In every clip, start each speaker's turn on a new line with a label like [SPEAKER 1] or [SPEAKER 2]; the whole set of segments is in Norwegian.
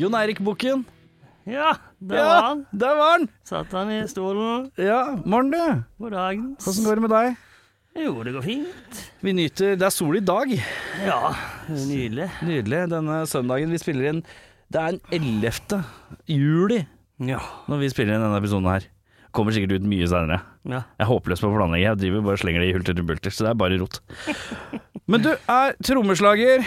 [SPEAKER 1] Jon Eirik Bukken.
[SPEAKER 2] Ja, der var han.
[SPEAKER 1] der var han!
[SPEAKER 2] Satt han i stolen.
[SPEAKER 1] Ja, morgen, du.
[SPEAKER 2] God dagen.
[SPEAKER 1] Åssen går det med deg?
[SPEAKER 2] Jo, det går fint.
[SPEAKER 1] Vi nyter Det er sol i dag.
[SPEAKER 2] Ja, nydelig.
[SPEAKER 1] Nydelig. Denne søndagen vi spiller inn Det er den 11. juli
[SPEAKER 2] Ja.
[SPEAKER 1] når vi spiller inn denne episoden her. Kommer sikkert ut mye seinere.
[SPEAKER 2] ja.
[SPEAKER 1] Jeg er håpløs på å planlegge. Jeg driver bare og slenger det i hulter til bulter, så det er bare rot. Men du er trommeslager,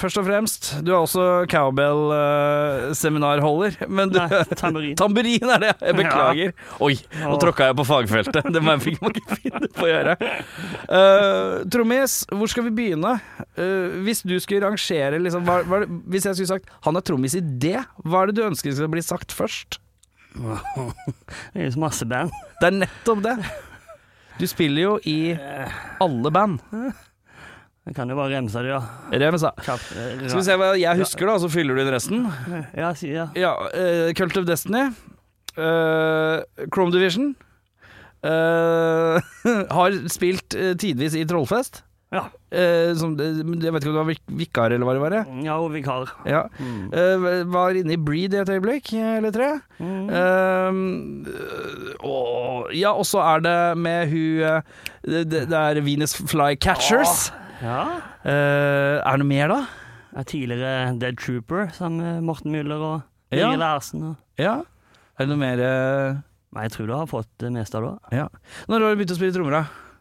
[SPEAKER 1] først og fremst. Du er også cowbell-seminarholder. Men du
[SPEAKER 2] Nei, tamburin.
[SPEAKER 1] Tamburin er det, jeg beklager. Oi, nå tråkka jeg på fagfeltet. Det må jeg fikk man ikke finne på å gjøre. Uh, Trommis, hvor skal vi begynne? Eh, hvis du skulle rangere liksom, hva, hva, er det- Hvis jeg skulle sagt 'han er trommis i det', hva er det du ønsker skal bli sagt først?
[SPEAKER 2] Det er jo så masse band.
[SPEAKER 1] Det er nettopp det. Du spiller jo i alle band.
[SPEAKER 2] Jeg kan jo bare remse det, ja.
[SPEAKER 1] Remsa.
[SPEAKER 2] Kjapp, eh, ra-
[SPEAKER 1] Skal vi se hva jeg husker, da, så fyller du inn resten.
[SPEAKER 2] Ja, si ja.
[SPEAKER 1] Ja, eh, Cult of Destiny, eh, Chrome Division eh, Har spilt eh, tidvis i Trollfest.
[SPEAKER 2] Ja,
[SPEAKER 1] Eh, som, jeg vet ikke om du var vik- vikar eller hva det var. jeg.
[SPEAKER 2] ja og vikar.
[SPEAKER 1] Ja.
[SPEAKER 2] Mm.
[SPEAKER 1] Eh, var inne i Breed i et øyeblikk, eh, eller tre.
[SPEAKER 2] Mm.
[SPEAKER 1] Eh, og, ja, og så er det med hun eh, det, det det er Venus Fly Catchers.
[SPEAKER 2] Ja.
[SPEAKER 1] Eh, er det noe mer, da?
[SPEAKER 2] Jeg er tidligere Dead Trooper sammen med Morten Müller og
[SPEAKER 1] Ja.
[SPEAKER 2] Ingrid Larsen. Og...
[SPEAKER 1] Ja. Er det noe mer eh,
[SPEAKER 2] Nei, jeg tror du har fått det meste av det.
[SPEAKER 1] Ja. Når har du begynt å spille trommer, da?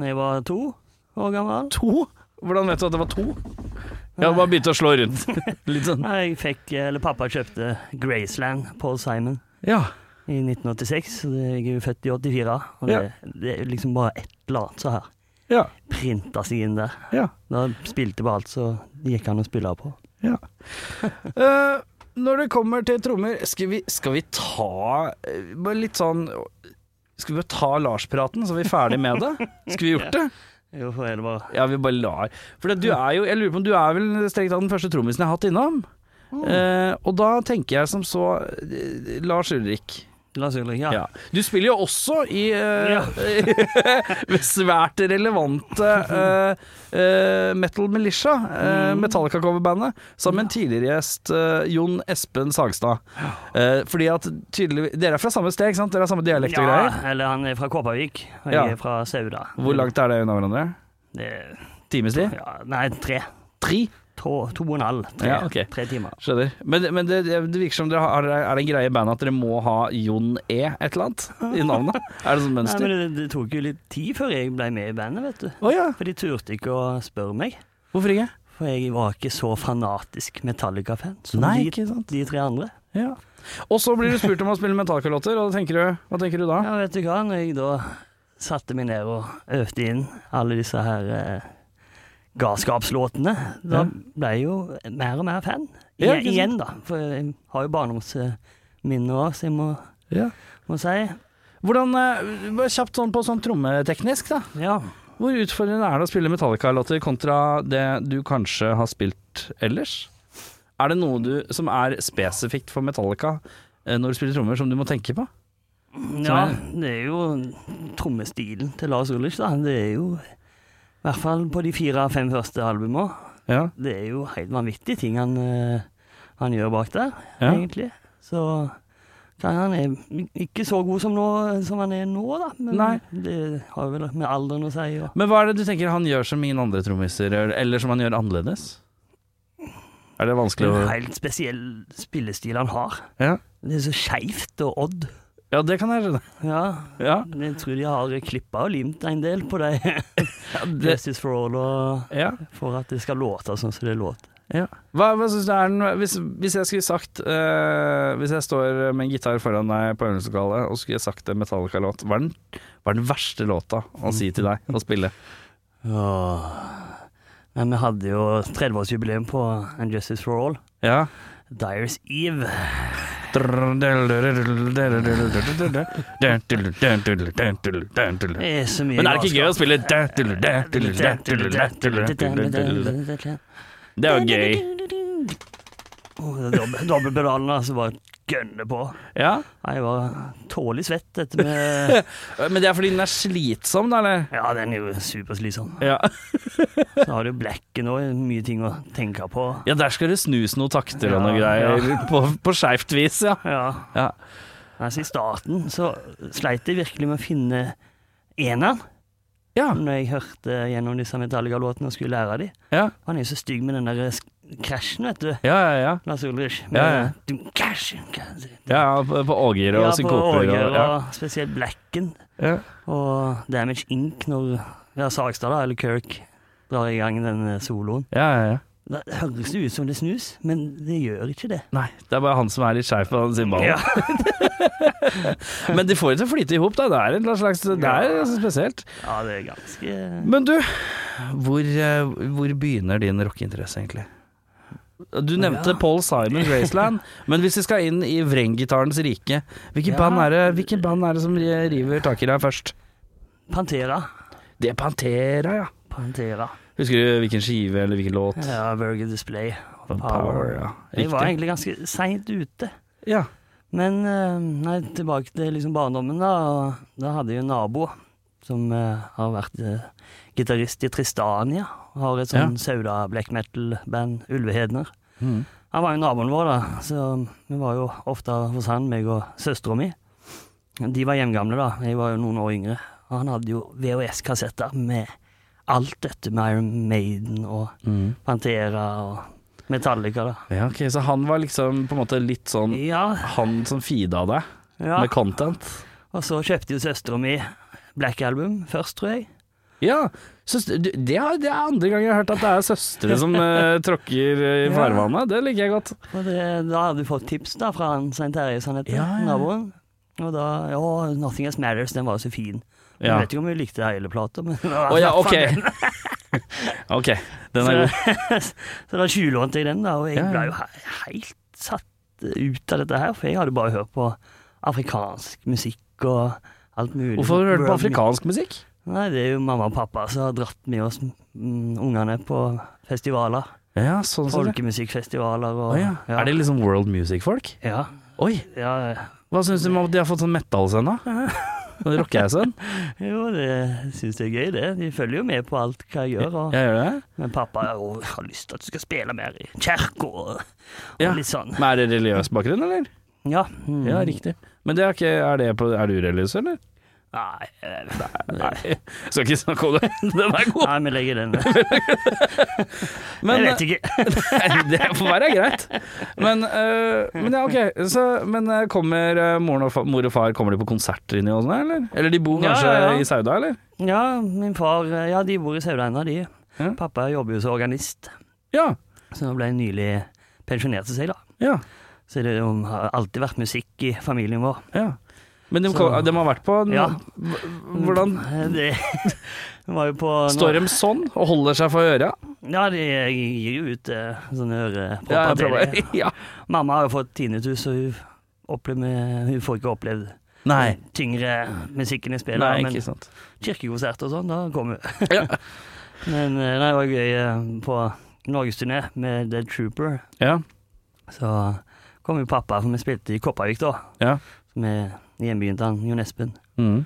[SPEAKER 2] Når jeg var to år gammel.
[SPEAKER 1] To? Hvordan vet du at det var to? Jeg hadde bare begynt å slå rundt. Litt sånn.
[SPEAKER 2] Nei, jeg fikk, eh, eller pappa kjøpte Graceland, Paul Simon.
[SPEAKER 1] Ja.
[SPEAKER 2] I 1986, så det- jeg er jo født i 84, og det,
[SPEAKER 1] Ja.
[SPEAKER 2] det er liksom bare et eller annet så her.
[SPEAKER 1] Ja.
[SPEAKER 2] Printa seg inn der.
[SPEAKER 1] ja.
[SPEAKER 2] Da spilte bare alt, så det gikk an å spille på.
[SPEAKER 1] ja. Eh, når det kommer til trommer, skal vi, skal vi ta eh, bare litt sånn Skal vi bare ta Lars-praten, så er vi ferdig med det? Skulle vi gjort det?
[SPEAKER 2] Jo, for er det bare
[SPEAKER 1] Ja, vi bare lar For du er jo, jeg lurer på om du er vel strengt tatt den første trommisen jeg har hatt innom? Eh, og da tenker jeg som så eh, Lars Ulrik.
[SPEAKER 2] Lars Ulrik, ja.
[SPEAKER 1] Ja. Du spiller jo også i eh, svært relevante eh, eh, Metal Militia, eh,
[SPEAKER 2] Mm.
[SPEAKER 1] Metallica-coverbandet, sammen med en tidligere gjest, eh, Jon Espen Sagstad. Eh, fordi at tydeligvis Dere er fra samme sted, ikke sant? Dere har samme dialekt og greier?
[SPEAKER 2] Ja, eller han er fra Kåpavik, og jeg
[SPEAKER 1] Ja.
[SPEAKER 2] er fra Sauda.
[SPEAKER 1] Hvor langt er det unna hverandre?
[SPEAKER 2] Det,
[SPEAKER 1] Times tid?
[SPEAKER 2] ja, nei, tre.
[SPEAKER 1] Tre?
[SPEAKER 2] To, to og en halv. Tre,
[SPEAKER 1] Ja, ok.
[SPEAKER 2] tre timer.
[SPEAKER 1] Skjønner. Men, men det, det virker som dere har, er det en greie i bandet at dere må ha Jon E et eller annet i navnet? Er det sånn
[SPEAKER 2] Nei,
[SPEAKER 1] mønster?
[SPEAKER 2] men det, det tok jo litt tid før jeg ble med i bandet, vet du.
[SPEAKER 1] Å ja,
[SPEAKER 2] For de turte ikke å spørre meg.
[SPEAKER 1] hvorfor ikke?
[SPEAKER 2] For jeg var ikke så fanatisk Metallica-fan som
[SPEAKER 1] Nei,
[SPEAKER 2] de,
[SPEAKER 1] ikke sant.
[SPEAKER 2] de tre andre.
[SPEAKER 1] Ja. Og så blir du spurt om å spille Metallica-låter, og da tenker du, hva tenker du da?
[SPEAKER 2] Ja, vet du hva, når jeg da satte meg ned og øvde inn alle disse her eh, galskapslåtene, da
[SPEAKER 1] Ja.
[SPEAKER 2] ble jeg jo mer og mer fan. I,
[SPEAKER 1] Ja, ikke sant?
[SPEAKER 2] igjen, da. For jeg har jo barndomsminner òg, så jeg må,
[SPEAKER 1] Ja.
[SPEAKER 2] må si
[SPEAKER 1] Hvordan, eh, bare kjapt sånn på sånn trommeteknisk da
[SPEAKER 2] ja.
[SPEAKER 1] Hvor utfordrende er det å spille Metallica-låter kontra det du kanskje har spilt ellers? Er det noe du, som er spesifikt for Metallica eh, når du spiller trommer, som du må tenke på? Sånn
[SPEAKER 2] ja. Det er jo trommestilen til Lars Ulrich, da. Det er jo i hvert fall på de fire-fem første albumene.
[SPEAKER 1] Ja,
[SPEAKER 2] Det er jo helt vanvittige ting han, eh, han gjør bak der,
[SPEAKER 1] Ja.
[SPEAKER 2] egentlig. Så kan han er ikke så god som, nå, som han er nå, da. Men
[SPEAKER 1] Nei.
[SPEAKER 2] det har vel med alderen å si. Og
[SPEAKER 1] Men hva er det du tenker han gjør som ingen andre trommiser, gjør, eller som han gjør annerledes? Er det
[SPEAKER 2] det
[SPEAKER 1] vanskelig
[SPEAKER 2] er
[SPEAKER 1] å
[SPEAKER 2] en helt spesiell spillestil han har.
[SPEAKER 1] Ja,
[SPEAKER 2] Det er så skeivt og odd.
[SPEAKER 1] ja det kan jeg skjønne.
[SPEAKER 2] Ja,
[SPEAKER 1] Ja,
[SPEAKER 2] jeg tror de har klippa og limt en del på de
[SPEAKER 1] det,
[SPEAKER 2] Justice for All og
[SPEAKER 1] ja.
[SPEAKER 2] for at det skal låte sånn som det låter.
[SPEAKER 1] Hva, hva synes du er den hvis, hvis jeg skulle sagt eh, Hvis jeg står med en gitar foran deg på øvelseslokalet og skulle jeg sagt en Metallica-låt, hva, er den- hva er den verste låta å si til deg å spille?
[SPEAKER 2] Åh. Nei, vi hadde jo 30-årsjubileum på And Justice for All.
[SPEAKER 1] Ja,
[SPEAKER 2] Dyers Eve.
[SPEAKER 1] Men
[SPEAKER 2] Det er så mye
[SPEAKER 1] er det ikke gøy å spille Det er jo gøy.
[SPEAKER 2] Dobbeltpedalen, altså. Bare gønne på.
[SPEAKER 1] Ja.
[SPEAKER 2] Nei, Jeg var tålelig svett etter med
[SPEAKER 1] Men det er fordi den er slitsom, da, eller?
[SPEAKER 2] Ja, den er jo superslitsom.
[SPEAKER 1] Ja.
[SPEAKER 2] Så har du blekken òg. Mye ting å tenke på.
[SPEAKER 1] ja, der skal det snus noen takter og noe
[SPEAKER 2] Ja, ja.
[SPEAKER 1] greier. På, på skeivt vis, ja.
[SPEAKER 2] Ja.
[SPEAKER 1] ja.
[SPEAKER 2] Altså, I starten så sleit jeg virkelig med å finne eneren,
[SPEAKER 1] Ja.
[SPEAKER 2] når jeg hørte gjennom disse Metallica-låtene og skulle lære dem.
[SPEAKER 1] Ja,
[SPEAKER 2] Han er jo så stygg med den der sk- krasjen, vet du.
[SPEAKER 1] ja, ja. ja.
[SPEAKER 2] Lars Ulrich.
[SPEAKER 1] Ja, ja.
[SPEAKER 2] Du, krasj, krasj.
[SPEAKER 1] ja på, på Åger og
[SPEAKER 2] Ja, på
[SPEAKER 1] synkoper.
[SPEAKER 2] Åger,
[SPEAKER 1] og-
[SPEAKER 2] og,
[SPEAKER 1] Ja.
[SPEAKER 2] spesielt Blacken
[SPEAKER 1] Ja.
[SPEAKER 2] og Damage Inc. når ja, Sagstad, da, eller Kirk, drar i gang den eh, soloen.
[SPEAKER 1] ja, ja, ja.
[SPEAKER 2] Det høres det ut som det snus, men det gjør ikke det.
[SPEAKER 1] Nei, det er bare han som er litt skeiv på den
[SPEAKER 2] Ja.
[SPEAKER 1] cymbalen. Men de får det til å flyte i hop, da. Det er en slags Det er
[SPEAKER 2] Ja.
[SPEAKER 1] spesielt.
[SPEAKER 2] ja, det er ganske eh,
[SPEAKER 1] Men du, hvor, eh, hvor begynner din rockeinteresse, egentlig? Du nevnte Paul Simon Graceland, men hvis vi skal inn i vrenggitarens rike, hvilken
[SPEAKER 2] Ja.
[SPEAKER 1] band, er det, hvilken band er det som river tak i deg først?
[SPEAKER 2] Pantera.
[SPEAKER 1] Det er Pantera, ja.
[SPEAKER 2] Pantera.
[SPEAKER 1] Husker du hvilken skive eller hvilken låt?
[SPEAKER 2] Ja, Burger Display. Power.
[SPEAKER 1] ja.
[SPEAKER 2] Jeg var
[SPEAKER 1] Riktig.
[SPEAKER 2] egentlig ganske seint ute.
[SPEAKER 1] Ja.
[SPEAKER 2] Men eh, nei, tilbake til liksom barndommen, da. og Da hadde jeg en nabo som eh, har vært eh, gitarist i Tristania. og Har et sånn sauda-black metal-band, Ulvehedener.
[SPEAKER 1] Mm.
[SPEAKER 2] Han var jo naboen vår, da, så vi var jo ofte hos han, meg og søstera mi. De var hjemgamle, da. Jeg var jo noen år yngre. Og han hadde jo VHS-kassetter med alt dette med Iron Maiden og
[SPEAKER 1] Mm.
[SPEAKER 2] Pantera og Metallica, da.
[SPEAKER 1] ja, ok, så han var liksom på en måte litt sånn
[SPEAKER 2] Ja,
[SPEAKER 1] han som feeda deg
[SPEAKER 2] ja.
[SPEAKER 1] med content?
[SPEAKER 2] Og så kjøpte jo søstera mi Black Album først, tror jeg.
[SPEAKER 1] Ja, søster, du, det, er, det er andre gang jeg har hørt at det er søstre som eh, tråkker eh, i
[SPEAKER 2] Ja.
[SPEAKER 1] farvannet. Det liker jeg godt.
[SPEAKER 2] Og det, da hadde vi fått tips da fra han Svein Terje, som han heter,
[SPEAKER 1] Ja, ja.
[SPEAKER 2] naboen. Og da Ja, 'Nothing Else Matters', den var jo så fin.
[SPEAKER 1] Ja.
[SPEAKER 2] Jeg vet ikke om vi likte hele plata, men
[SPEAKER 1] Å ja, ok. ok, den er god.
[SPEAKER 2] så, så da tjuvlånte jeg den, da, og jeg
[SPEAKER 1] Ja, ja.
[SPEAKER 2] ble jo he helt satt ut av dette her, for jeg hadde bare hørt på afrikansk musikk og alt mulig.
[SPEAKER 1] Hvorfor hører du på
[SPEAKER 2] World music.
[SPEAKER 1] afrikansk musikk?
[SPEAKER 2] Nei, det er jo mamma og pappa som har dratt med oss mm, ungene på festivaler.
[SPEAKER 1] Ja, sånn som det.
[SPEAKER 2] Folkemusikkfestivaler og
[SPEAKER 1] Å ja. Er det liksom world music-folk?
[SPEAKER 2] ja.
[SPEAKER 1] Oi,
[SPEAKER 2] ja.
[SPEAKER 1] hva syns du om at de har fått sånn metal-sønn, da? Sånn rockejæsen?
[SPEAKER 2] Jo, det syns jeg er gøy, det. De følger jo med på alt hva jeg gjør. Og,
[SPEAKER 1] Jeg gjør det.
[SPEAKER 2] Men pappa er jo- har lyst til at du skal spille mer i kirka og, og
[SPEAKER 1] Ja.
[SPEAKER 2] litt sånn.
[SPEAKER 1] Men er det religiøs bakgrunn, eller?
[SPEAKER 2] Ja. mm.
[SPEAKER 1] Ja, riktig. Men det er, ikke, er, det på, er du religiøs, eller?
[SPEAKER 2] Nei, eh,
[SPEAKER 1] Nei. Skal ikke snakke om det. Den er god.
[SPEAKER 2] nei, vi legger den
[SPEAKER 1] Men,
[SPEAKER 2] Jeg vet ikke.
[SPEAKER 1] Nei, det får være greit. Men, øh, men ja, ok. Så, men øh, kommer øh, moren og fa, mor og far Kommer de på konserter inni og sånn, eller? Eller de bor
[SPEAKER 2] Ja,
[SPEAKER 1] kanskje
[SPEAKER 2] ja, ja.
[SPEAKER 1] i Sauda, eller?
[SPEAKER 2] Ja, min far eh, Ja, de bor i Saudaheina, de.
[SPEAKER 1] Ja.
[SPEAKER 2] Pappa jobber jo som organist,
[SPEAKER 1] Ja.
[SPEAKER 2] så han ble nylig pensjonert til seg, da.
[SPEAKER 1] ja,
[SPEAKER 2] Så det jo- har alltid vært musikk i familien vår.
[SPEAKER 1] ja. Men de,
[SPEAKER 2] Så-
[SPEAKER 1] kom, de har vært på en,
[SPEAKER 2] Ja. Eh,
[SPEAKER 1] hv- Mm. Hvordan
[SPEAKER 2] Det det var jo på
[SPEAKER 1] står de sånn og holder seg for øra?
[SPEAKER 2] Ja, de gir jo ut eh, sånne ørepropper
[SPEAKER 1] Ja, jeg
[SPEAKER 2] til dem.
[SPEAKER 1] prøver- ja.
[SPEAKER 2] Mamma har jo fått tinnitus, og hun, opplever, hun får ikke opplevd
[SPEAKER 1] Nei.
[SPEAKER 2] den tyngre musikken jeg spiller.
[SPEAKER 1] Nei,
[SPEAKER 2] men
[SPEAKER 1] ikke sant.
[SPEAKER 2] kirkekonsert og sånn, da kommer hun.
[SPEAKER 1] Ja.
[SPEAKER 2] men eh, nei, det var gøy eh, på norgesturné med Dead Trooper.
[SPEAKER 1] Ja.
[SPEAKER 2] Så kom jo pappa, for vi spilte i Kopervik da,
[SPEAKER 1] Ja.
[SPEAKER 2] med hjembyen til han, Jon Espen.
[SPEAKER 1] Mm.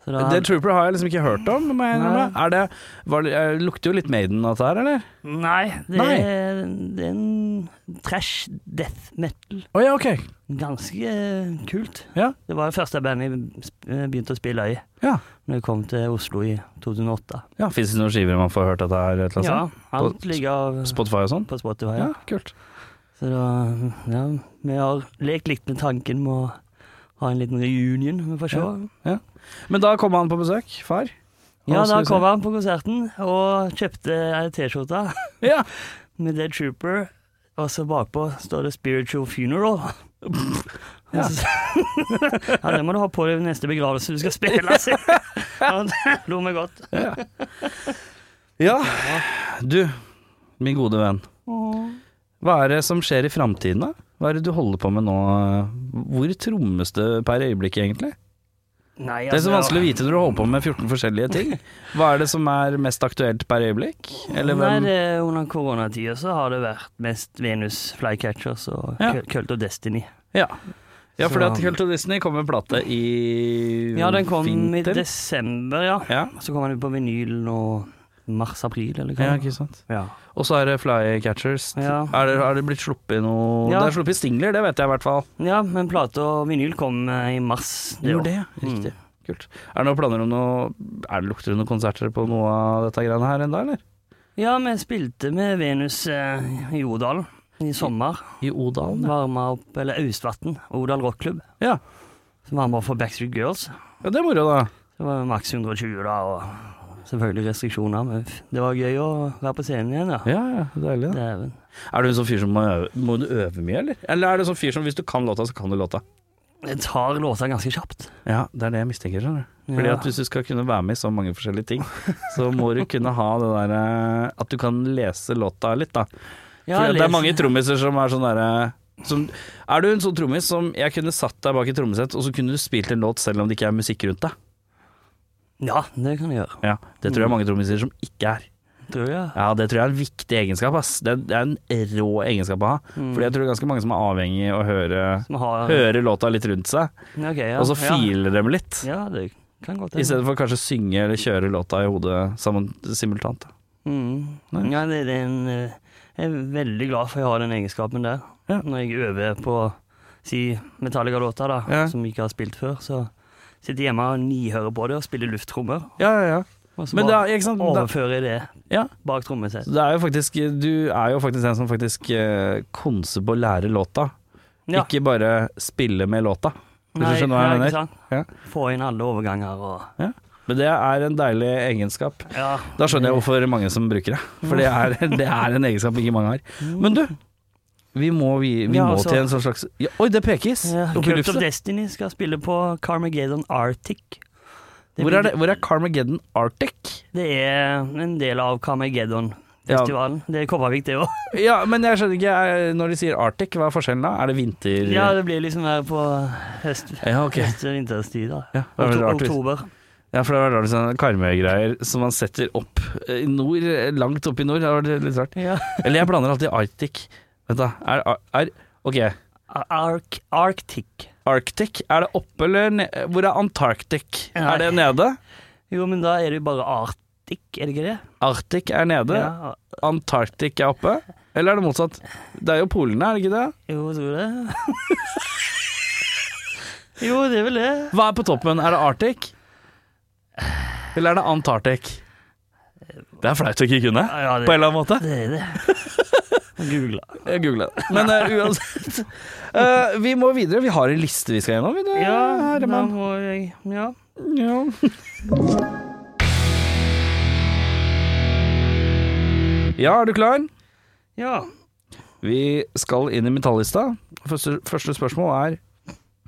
[SPEAKER 2] Så da,
[SPEAKER 1] Dead Trooper har jeg liksom ikke hørt om, må jeg innrømme. Er det, var, det- eh, lukter jo litt Maiden av dette her, eller?
[SPEAKER 2] Nei, det,
[SPEAKER 1] Nei.
[SPEAKER 2] Er, det er en trash death metal.
[SPEAKER 1] Å ja, ok.
[SPEAKER 2] Ganske eh, kult.
[SPEAKER 1] Ja.
[SPEAKER 2] Det var det første bandet jeg sp- eh, begynte å spille i
[SPEAKER 1] Ja.
[SPEAKER 2] Når jeg kom til Oslo i 2008.
[SPEAKER 1] ja Fins det noen skiver man får hørt dette her? et eller annet
[SPEAKER 2] Ja,
[SPEAKER 1] sted?
[SPEAKER 2] alt ligger av-
[SPEAKER 1] Spotify og sånn?
[SPEAKER 2] på Spotify. Ja.
[SPEAKER 1] Ja, kult.
[SPEAKER 2] Så da, ja, vi har lekt litt med tanken med å ha en liten reunion. Vi får se.
[SPEAKER 1] Men da kom han på besøk, far. Hva
[SPEAKER 2] Ja, da
[SPEAKER 1] skulle du
[SPEAKER 2] kom han på konserten og kjøpte ei T-skjorte
[SPEAKER 1] si? Ja.
[SPEAKER 2] med Dead Trooper. Og så bakpå står det 'Spiritual Funeral'.
[SPEAKER 1] Ja.
[SPEAKER 2] Ja. ja, det må du ha på deg ved neste begravelse du skal spille. sier jeg. Ja, det Lo meg godt.
[SPEAKER 1] ja. Du, min gode venn. Hva er det som skjer i framtiden, da? Hva er det du holder på med nå? Hvor trommes det per øyeblikk, egentlig?
[SPEAKER 2] Nei, altså,
[SPEAKER 1] Det er så vanskelig å vite når du holder på med 14 forskjellige ting. Hva er det som er mest aktuelt per øyeblikk? Eller
[SPEAKER 2] Nei,
[SPEAKER 1] hvem?
[SPEAKER 2] det, under koronatida så har det vært mest Venus Flycatchers og
[SPEAKER 1] Ja.
[SPEAKER 2] Køl- Cult of Destiny.
[SPEAKER 1] Ja. Ja, fordi at
[SPEAKER 2] Så-
[SPEAKER 1] Cult of Disney kom med plate i
[SPEAKER 2] Ja, den kom i
[SPEAKER 1] vinter.
[SPEAKER 2] desember, ja.
[SPEAKER 1] Ja.
[SPEAKER 2] Så kom den ut på vinyl nå mars-april, eller hva?
[SPEAKER 1] ja, ikke sant.
[SPEAKER 2] ja.
[SPEAKER 1] Og så er det Flycatchers.
[SPEAKER 2] Ja.
[SPEAKER 1] Er, det, er det blitt sluppet noe
[SPEAKER 2] Ja.
[SPEAKER 1] Det er sluppet singler, det vet jeg i hvert fall.
[SPEAKER 2] ja, men plate og vinyl kom eh, i mars.
[SPEAKER 1] Det
[SPEAKER 2] år.
[SPEAKER 1] gjorde det, ja. Riktig. Mm. Kult. Er det noen planer om noe Er det Lukter det noen konserter på noe av dette greiene her ennå, eller?
[SPEAKER 2] Ja, vi spilte med Venus eh, i Odal i sommer.
[SPEAKER 1] I Odalen, ja.
[SPEAKER 2] Varma opp, eller Austvatn, Odal rockklubb.
[SPEAKER 1] Ja.
[SPEAKER 2] Så varma opp for Backstreet Girls.
[SPEAKER 1] ja. Det er moro, da.
[SPEAKER 2] Det var maks 120 da, og selvfølgelig restriksjoner, men f- det var gøy å være på scenen igjen, ja.
[SPEAKER 1] Ja, ja, Deilig. da.
[SPEAKER 2] Dæven.
[SPEAKER 1] Er du en sånn fyr som må øve, må du øve mye, eller? Eller er du en sånn fyr som hvis du kan låta, så kan du låta?
[SPEAKER 2] Jeg tar låta ganske kjapt.
[SPEAKER 1] Ja, det er det jeg mistenker. skjønner du. Fordi
[SPEAKER 2] Ja.
[SPEAKER 1] at Hvis du skal kunne være med i så mange forskjellige ting, så må du kunne ha det der eh, At du kan lese låta litt, da.
[SPEAKER 2] Ja,
[SPEAKER 1] Fordi at det
[SPEAKER 2] les-
[SPEAKER 1] er mange trommiser som er sånn derre som, Er du en sånn trommis som jeg kunne satt deg bak et trommesett, og så kunne du spilt en låt selv om det ikke er musikk rundt deg?
[SPEAKER 2] Ja, det kan jeg gjøre.
[SPEAKER 1] Ja, Det tror jeg mange trommiser som ikke er.
[SPEAKER 2] Tror jeg.
[SPEAKER 1] Ja, Det tror jeg er en viktig egenskap. ass. Det er, det er en rå egenskap å ha. Fordi jeg tror det er ganske mange som er avhengig av å høre,
[SPEAKER 2] Som har...
[SPEAKER 1] høre låta litt rundt seg,
[SPEAKER 2] Ja, ok, ja.
[SPEAKER 1] og så filer dem litt.
[SPEAKER 2] Ja, ja det kan godt.
[SPEAKER 1] I stedet for kanskje å synge eller kjøre låta i hodet sammen, simultant. da.
[SPEAKER 2] Mm.
[SPEAKER 1] Nei.
[SPEAKER 2] Ja, det, det er en, eh, jeg er veldig glad for jeg har den egenskapen der.
[SPEAKER 1] Ja.
[SPEAKER 2] Når jeg øver på si Metallica-låter da,
[SPEAKER 1] Ja.
[SPEAKER 2] som jeg ikke har spilt før, så sitter jeg hjemme og nihører på det og spiller lufttrommer.
[SPEAKER 1] Ja, ja, ja.
[SPEAKER 2] Og så
[SPEAKER 1] Men det
[SPEAKER 2] bare
[SPEAKER 1] er, ikke sant? Da,
[SPEAKER 2] overfører jeg det
[SPEAKER 1] ja.
[SPEAKER 2] bak trommesett.
[SPEAKER 1] det er jo faktisk, du er jo faktisk en som faktisk eh, konser på å lære låta.
[SPEAKER 2] Ja.
[SPEAKER 1] Ikke bare spille med låta. Hvis du skjønner hva
[SPEAKER 2] ja,
[SPEAKER 1] jeg
[SPEAKER 2] ikke
[SPEAKER 1] mener.
[SPEAKER 2] sant? Få inn alle overganger og
[SPEAKER 1] Ja. Men det er en deilig egenskap.
[SPEAKER 2] ja,
[SPEAKER 1] Da skjønner jeg hvorfor mange som bruker det. For det er, det er en egenskap ikke mange har. Men du, vi må, vi, vi
[SPEAKER 2] Ja,
[SPEAKER 1] må
[SPEAKER 2] altså-
[SPEAKER 1] til en sånn slags ja, Oi, det pekes!
[SPEAKER 2] Ja,
[SPEAKER 1] Oppe i
[SPEAKER 2] Cult of
[SPEAKER 1] luftet.
[SPEAKER 2] Destiny skal spille på Carmageddon Arctic. Det
[SPEAKER 1] Hvor
[SPEAKER 2] blir-
[SPEAKER 1] er, det, hvor er Carmageddon Arctic?
[SPEAKER 2] Det er en del av Carmageddon-festivalen. Det er Kopervik, det òg.
[SPEAKER 1] Ja, men jeg skjønner ikke, jeg- når de sier Arctic, hva er forskjellen da? Er det vinter...?
[SPEAKER 2] Ja, det blir liksom her på høst,
[SPEAKER 1] Ja, ok.
[SPEAKER 2] høst og vinterstid. da.
[SPEAKER 1] Ja, det er veldig
[SPEAKER 2] Okto-
[SPEAKER 1] rart hvis-
[SPEAKER 2] Oktober.
[SPEAKER 1] Ja, for det var rart hvis sånn Karmøy-greier som man setter opp eh, i nord, eh, langt opp i nord. Det var litt rart.
[SPEAKER 2] Ja.
[SPEAKER 1] Eller jeg blander alltid Arctic. Vent, da. Er, er, ok,
[SPEAKER 2] Ark, Arctic.
[SPEAKER 1] Arctic. Er det oppe eller nede? Hvor er Antarctic?
[SPEAKER 2] Nei.
[SPEAKER 1] Er det nede?
[SPEAKER 2] Jo, men da er det jo bare Arctic, er det ikke det?
[SPEAKER 1] Arctic er nede.
[SPEAKER 2] Ja,
[SPEAKER 1] Antarctic er oppe. Eller er det motsatt? Det er jo polene, er det ikke det?
[SPEAKER 2] jo, tror du det? jo, det er vel det.
[SPEAKER 1] Hva er på toppen? Er det Arctic? Eller er det Antarctic? Det er flaut å ikke kunne,
[SPEAKER 2] Ja, ja, det-
[SPEAKER 1] på en eller annen måte.
[SPEAKER 2] Det er det. Googla.
[SPEAKER 1] Jeg googla det. Men eh, uansett. Eh, vi må videre. Vi har en liste vi skal gjennom. Vi, det,
[SPEAKER 2] Ja, da
[SPEAKER 1] Herman.
[SPEAKER 2] må jeg Ja.
[SPEAKER 1] Ja. ja, er du klar?
[SPEAKER 2] ja.
[SPEAKER 1] Vi skal inn i metallista. Første, første spørsmål er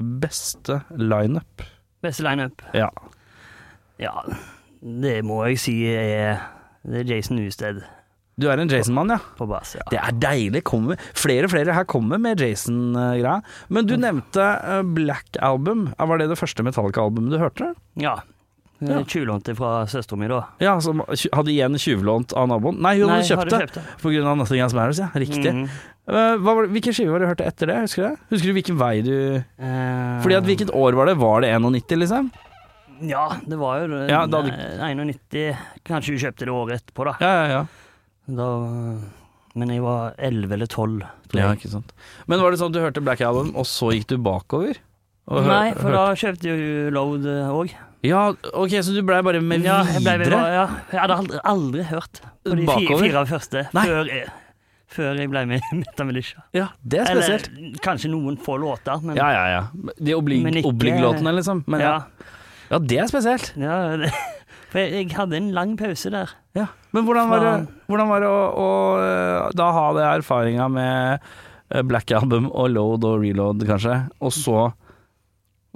[SPEAKER 1] beste lineup.
[SPEAKER 2] Beste lineup.
[SPEAKER 1] Ja.
[SPEAKER 2] Ja, det må jeg si er Det er Jason Newsted
[SPEAKER 1] Du er en Jason-mann, ja.
[SPEAKER 2] på bass. ja.
[SPEAKER 1] Det er deilig. Kommer. Flere og flere her kommer med Jason-greia. Men du nevnte eh, Black Album. Eh, Var det det første Metallica-albumet du hørte?
[SPEAKER 2] Ja.
[SPEAKER 1] Ja.
[SPEAKER 2] ja. Tjuvlånte fra søstera mi, da.
[SPEAKER 1] Ja, som hadde igjen tjuvlånt av naboen. Nei, hun hadde kjøpt
[SPEAKER 2] har du
[SPEAKER 1] det.
[SPEAKER 2] kjøpt det?
[SPEAKER 1] På grunn av Nothing Else Matters, ja. Riktig.
[SPEAKER 2] Mhm.
[SPEAKER 1] Eh, hva var det, hvilken skive var det du hørte etter det? Husker du det? Husker du hvilken vei du
[SPEAKER 2] Eh,
[SPEAKER 1] Fordi at hvilket år var det? Var det 91, liksom?
[SPEAKER 2] Ja, det var jo det.
[SPEAKER 1] Ja, da hadde-
[SPEAKER 2] Nei, 91. Kanskje hun kjøpte det året etterpå, da.
[SPEAKER 1] Ja, ja, ja.
[SPEAKER 2] da men jeg var 11 eller 12. tror
[SPEAKER 1] ja
[SPEAKER 2] jeg.
[SPEAKER 1] ikke sant. Men var det sånn at du hørte Black Album, og så gikk du bakover? Og hør-
[SPEAKER 2] Nei, for da
[SPEAKER 1] hørte-
[SPEAKER 2] kjøpte jo hun Load òg.
[SPEAKER 1] Ja, ok, så du blei bare med
[SPEAKER 2] Ja, jeg, ble-
[SPEAKER 1] videre?
[SPEAKER 2] ja, jeg hadde aldri, aldri hørt på de fi-
[SPEAKER 1] Bakover?
[SPEAKER 2] fire første
[SPEAKER 1] Nei.
[SPEAKER 2] før jeg, før jeg ble med i Metamilisha.
[SPEAKER 1] Ja, det er
[SPEAKER 2] Eller
[SPEAKER 1] spesielt.
[SPEAKER 2] kanskje noen få låter, men
[SPEAKER 1] Ja, ja, ja. De oblig-
[SPEAKER 2] Men ikke-
[SPEAKER 1] oblig-låtene, liksom. Men ja.
[SPEAKER 2] ja,
[SPEAKER 1] ja, det er spesielt.
[SPEAKER 2] ja, det- For jeg, jeg hadde en lang pause der.
[SPEAKER 1] Ja. Men hvordan var det, hvordan var det å, å eh, da ha det erfaringa med eh, Black Album og load og reload, kanskje, og så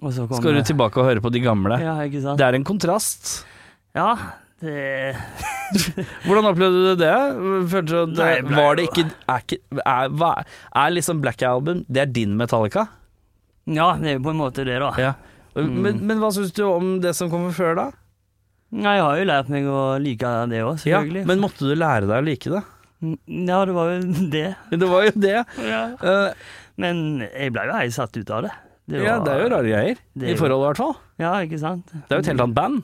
[SPEAKER 2] Og så kom
[SPEAKER 1] Skal du
[SPEAKER 2] det-
[SPEAKER 1] tilbake og høre på de gamle?
[SPEAKER 2] Ja, ikke sant.
[SPEAKER 1] Det er en kontrast.
[SPEAKER 2] Ja, Det,
[SPEAKER 1] Hvordan opplevde du det? Følte du at det,
[SPEAKER 2] Nei, ble-
[SPEAKER 1] var det ikke er, ikke- er, hva- er liksom Black Album Det er din Metallica?
[SPEAKER 2] ja, det er jo på en måte det, da.
[SPEAKER 1] Ja. Mm. Men, men hva syns du om det som kommer før, da?
[SPEAKER 2] Nei, Jeg har jo lært meg å like det òg,
[SPEAKER 1] Ja,
[SPEAKER 2] selvfølgelig.
[SPEAKER 1] men måtte du lære deg å like det?
[SPEAKER 2] ja, det var jo det.
[SPEAKER 1] Det var jo det. Eh,
[SPEAKER 2] Men jeg ble jo helt satt ut av det. det
[SPEAKER 1] ja, det er jo rare greier.
[SPEAKER 2] det er
[SPEAKER 1] I
[SPEAKER 2] jo-
[SPEAKER 1] forhold, i hvert fall.
[SPEAKER 2] Ja, ikke sant?
[SPEAKER 1] Det er jo et helt annet band.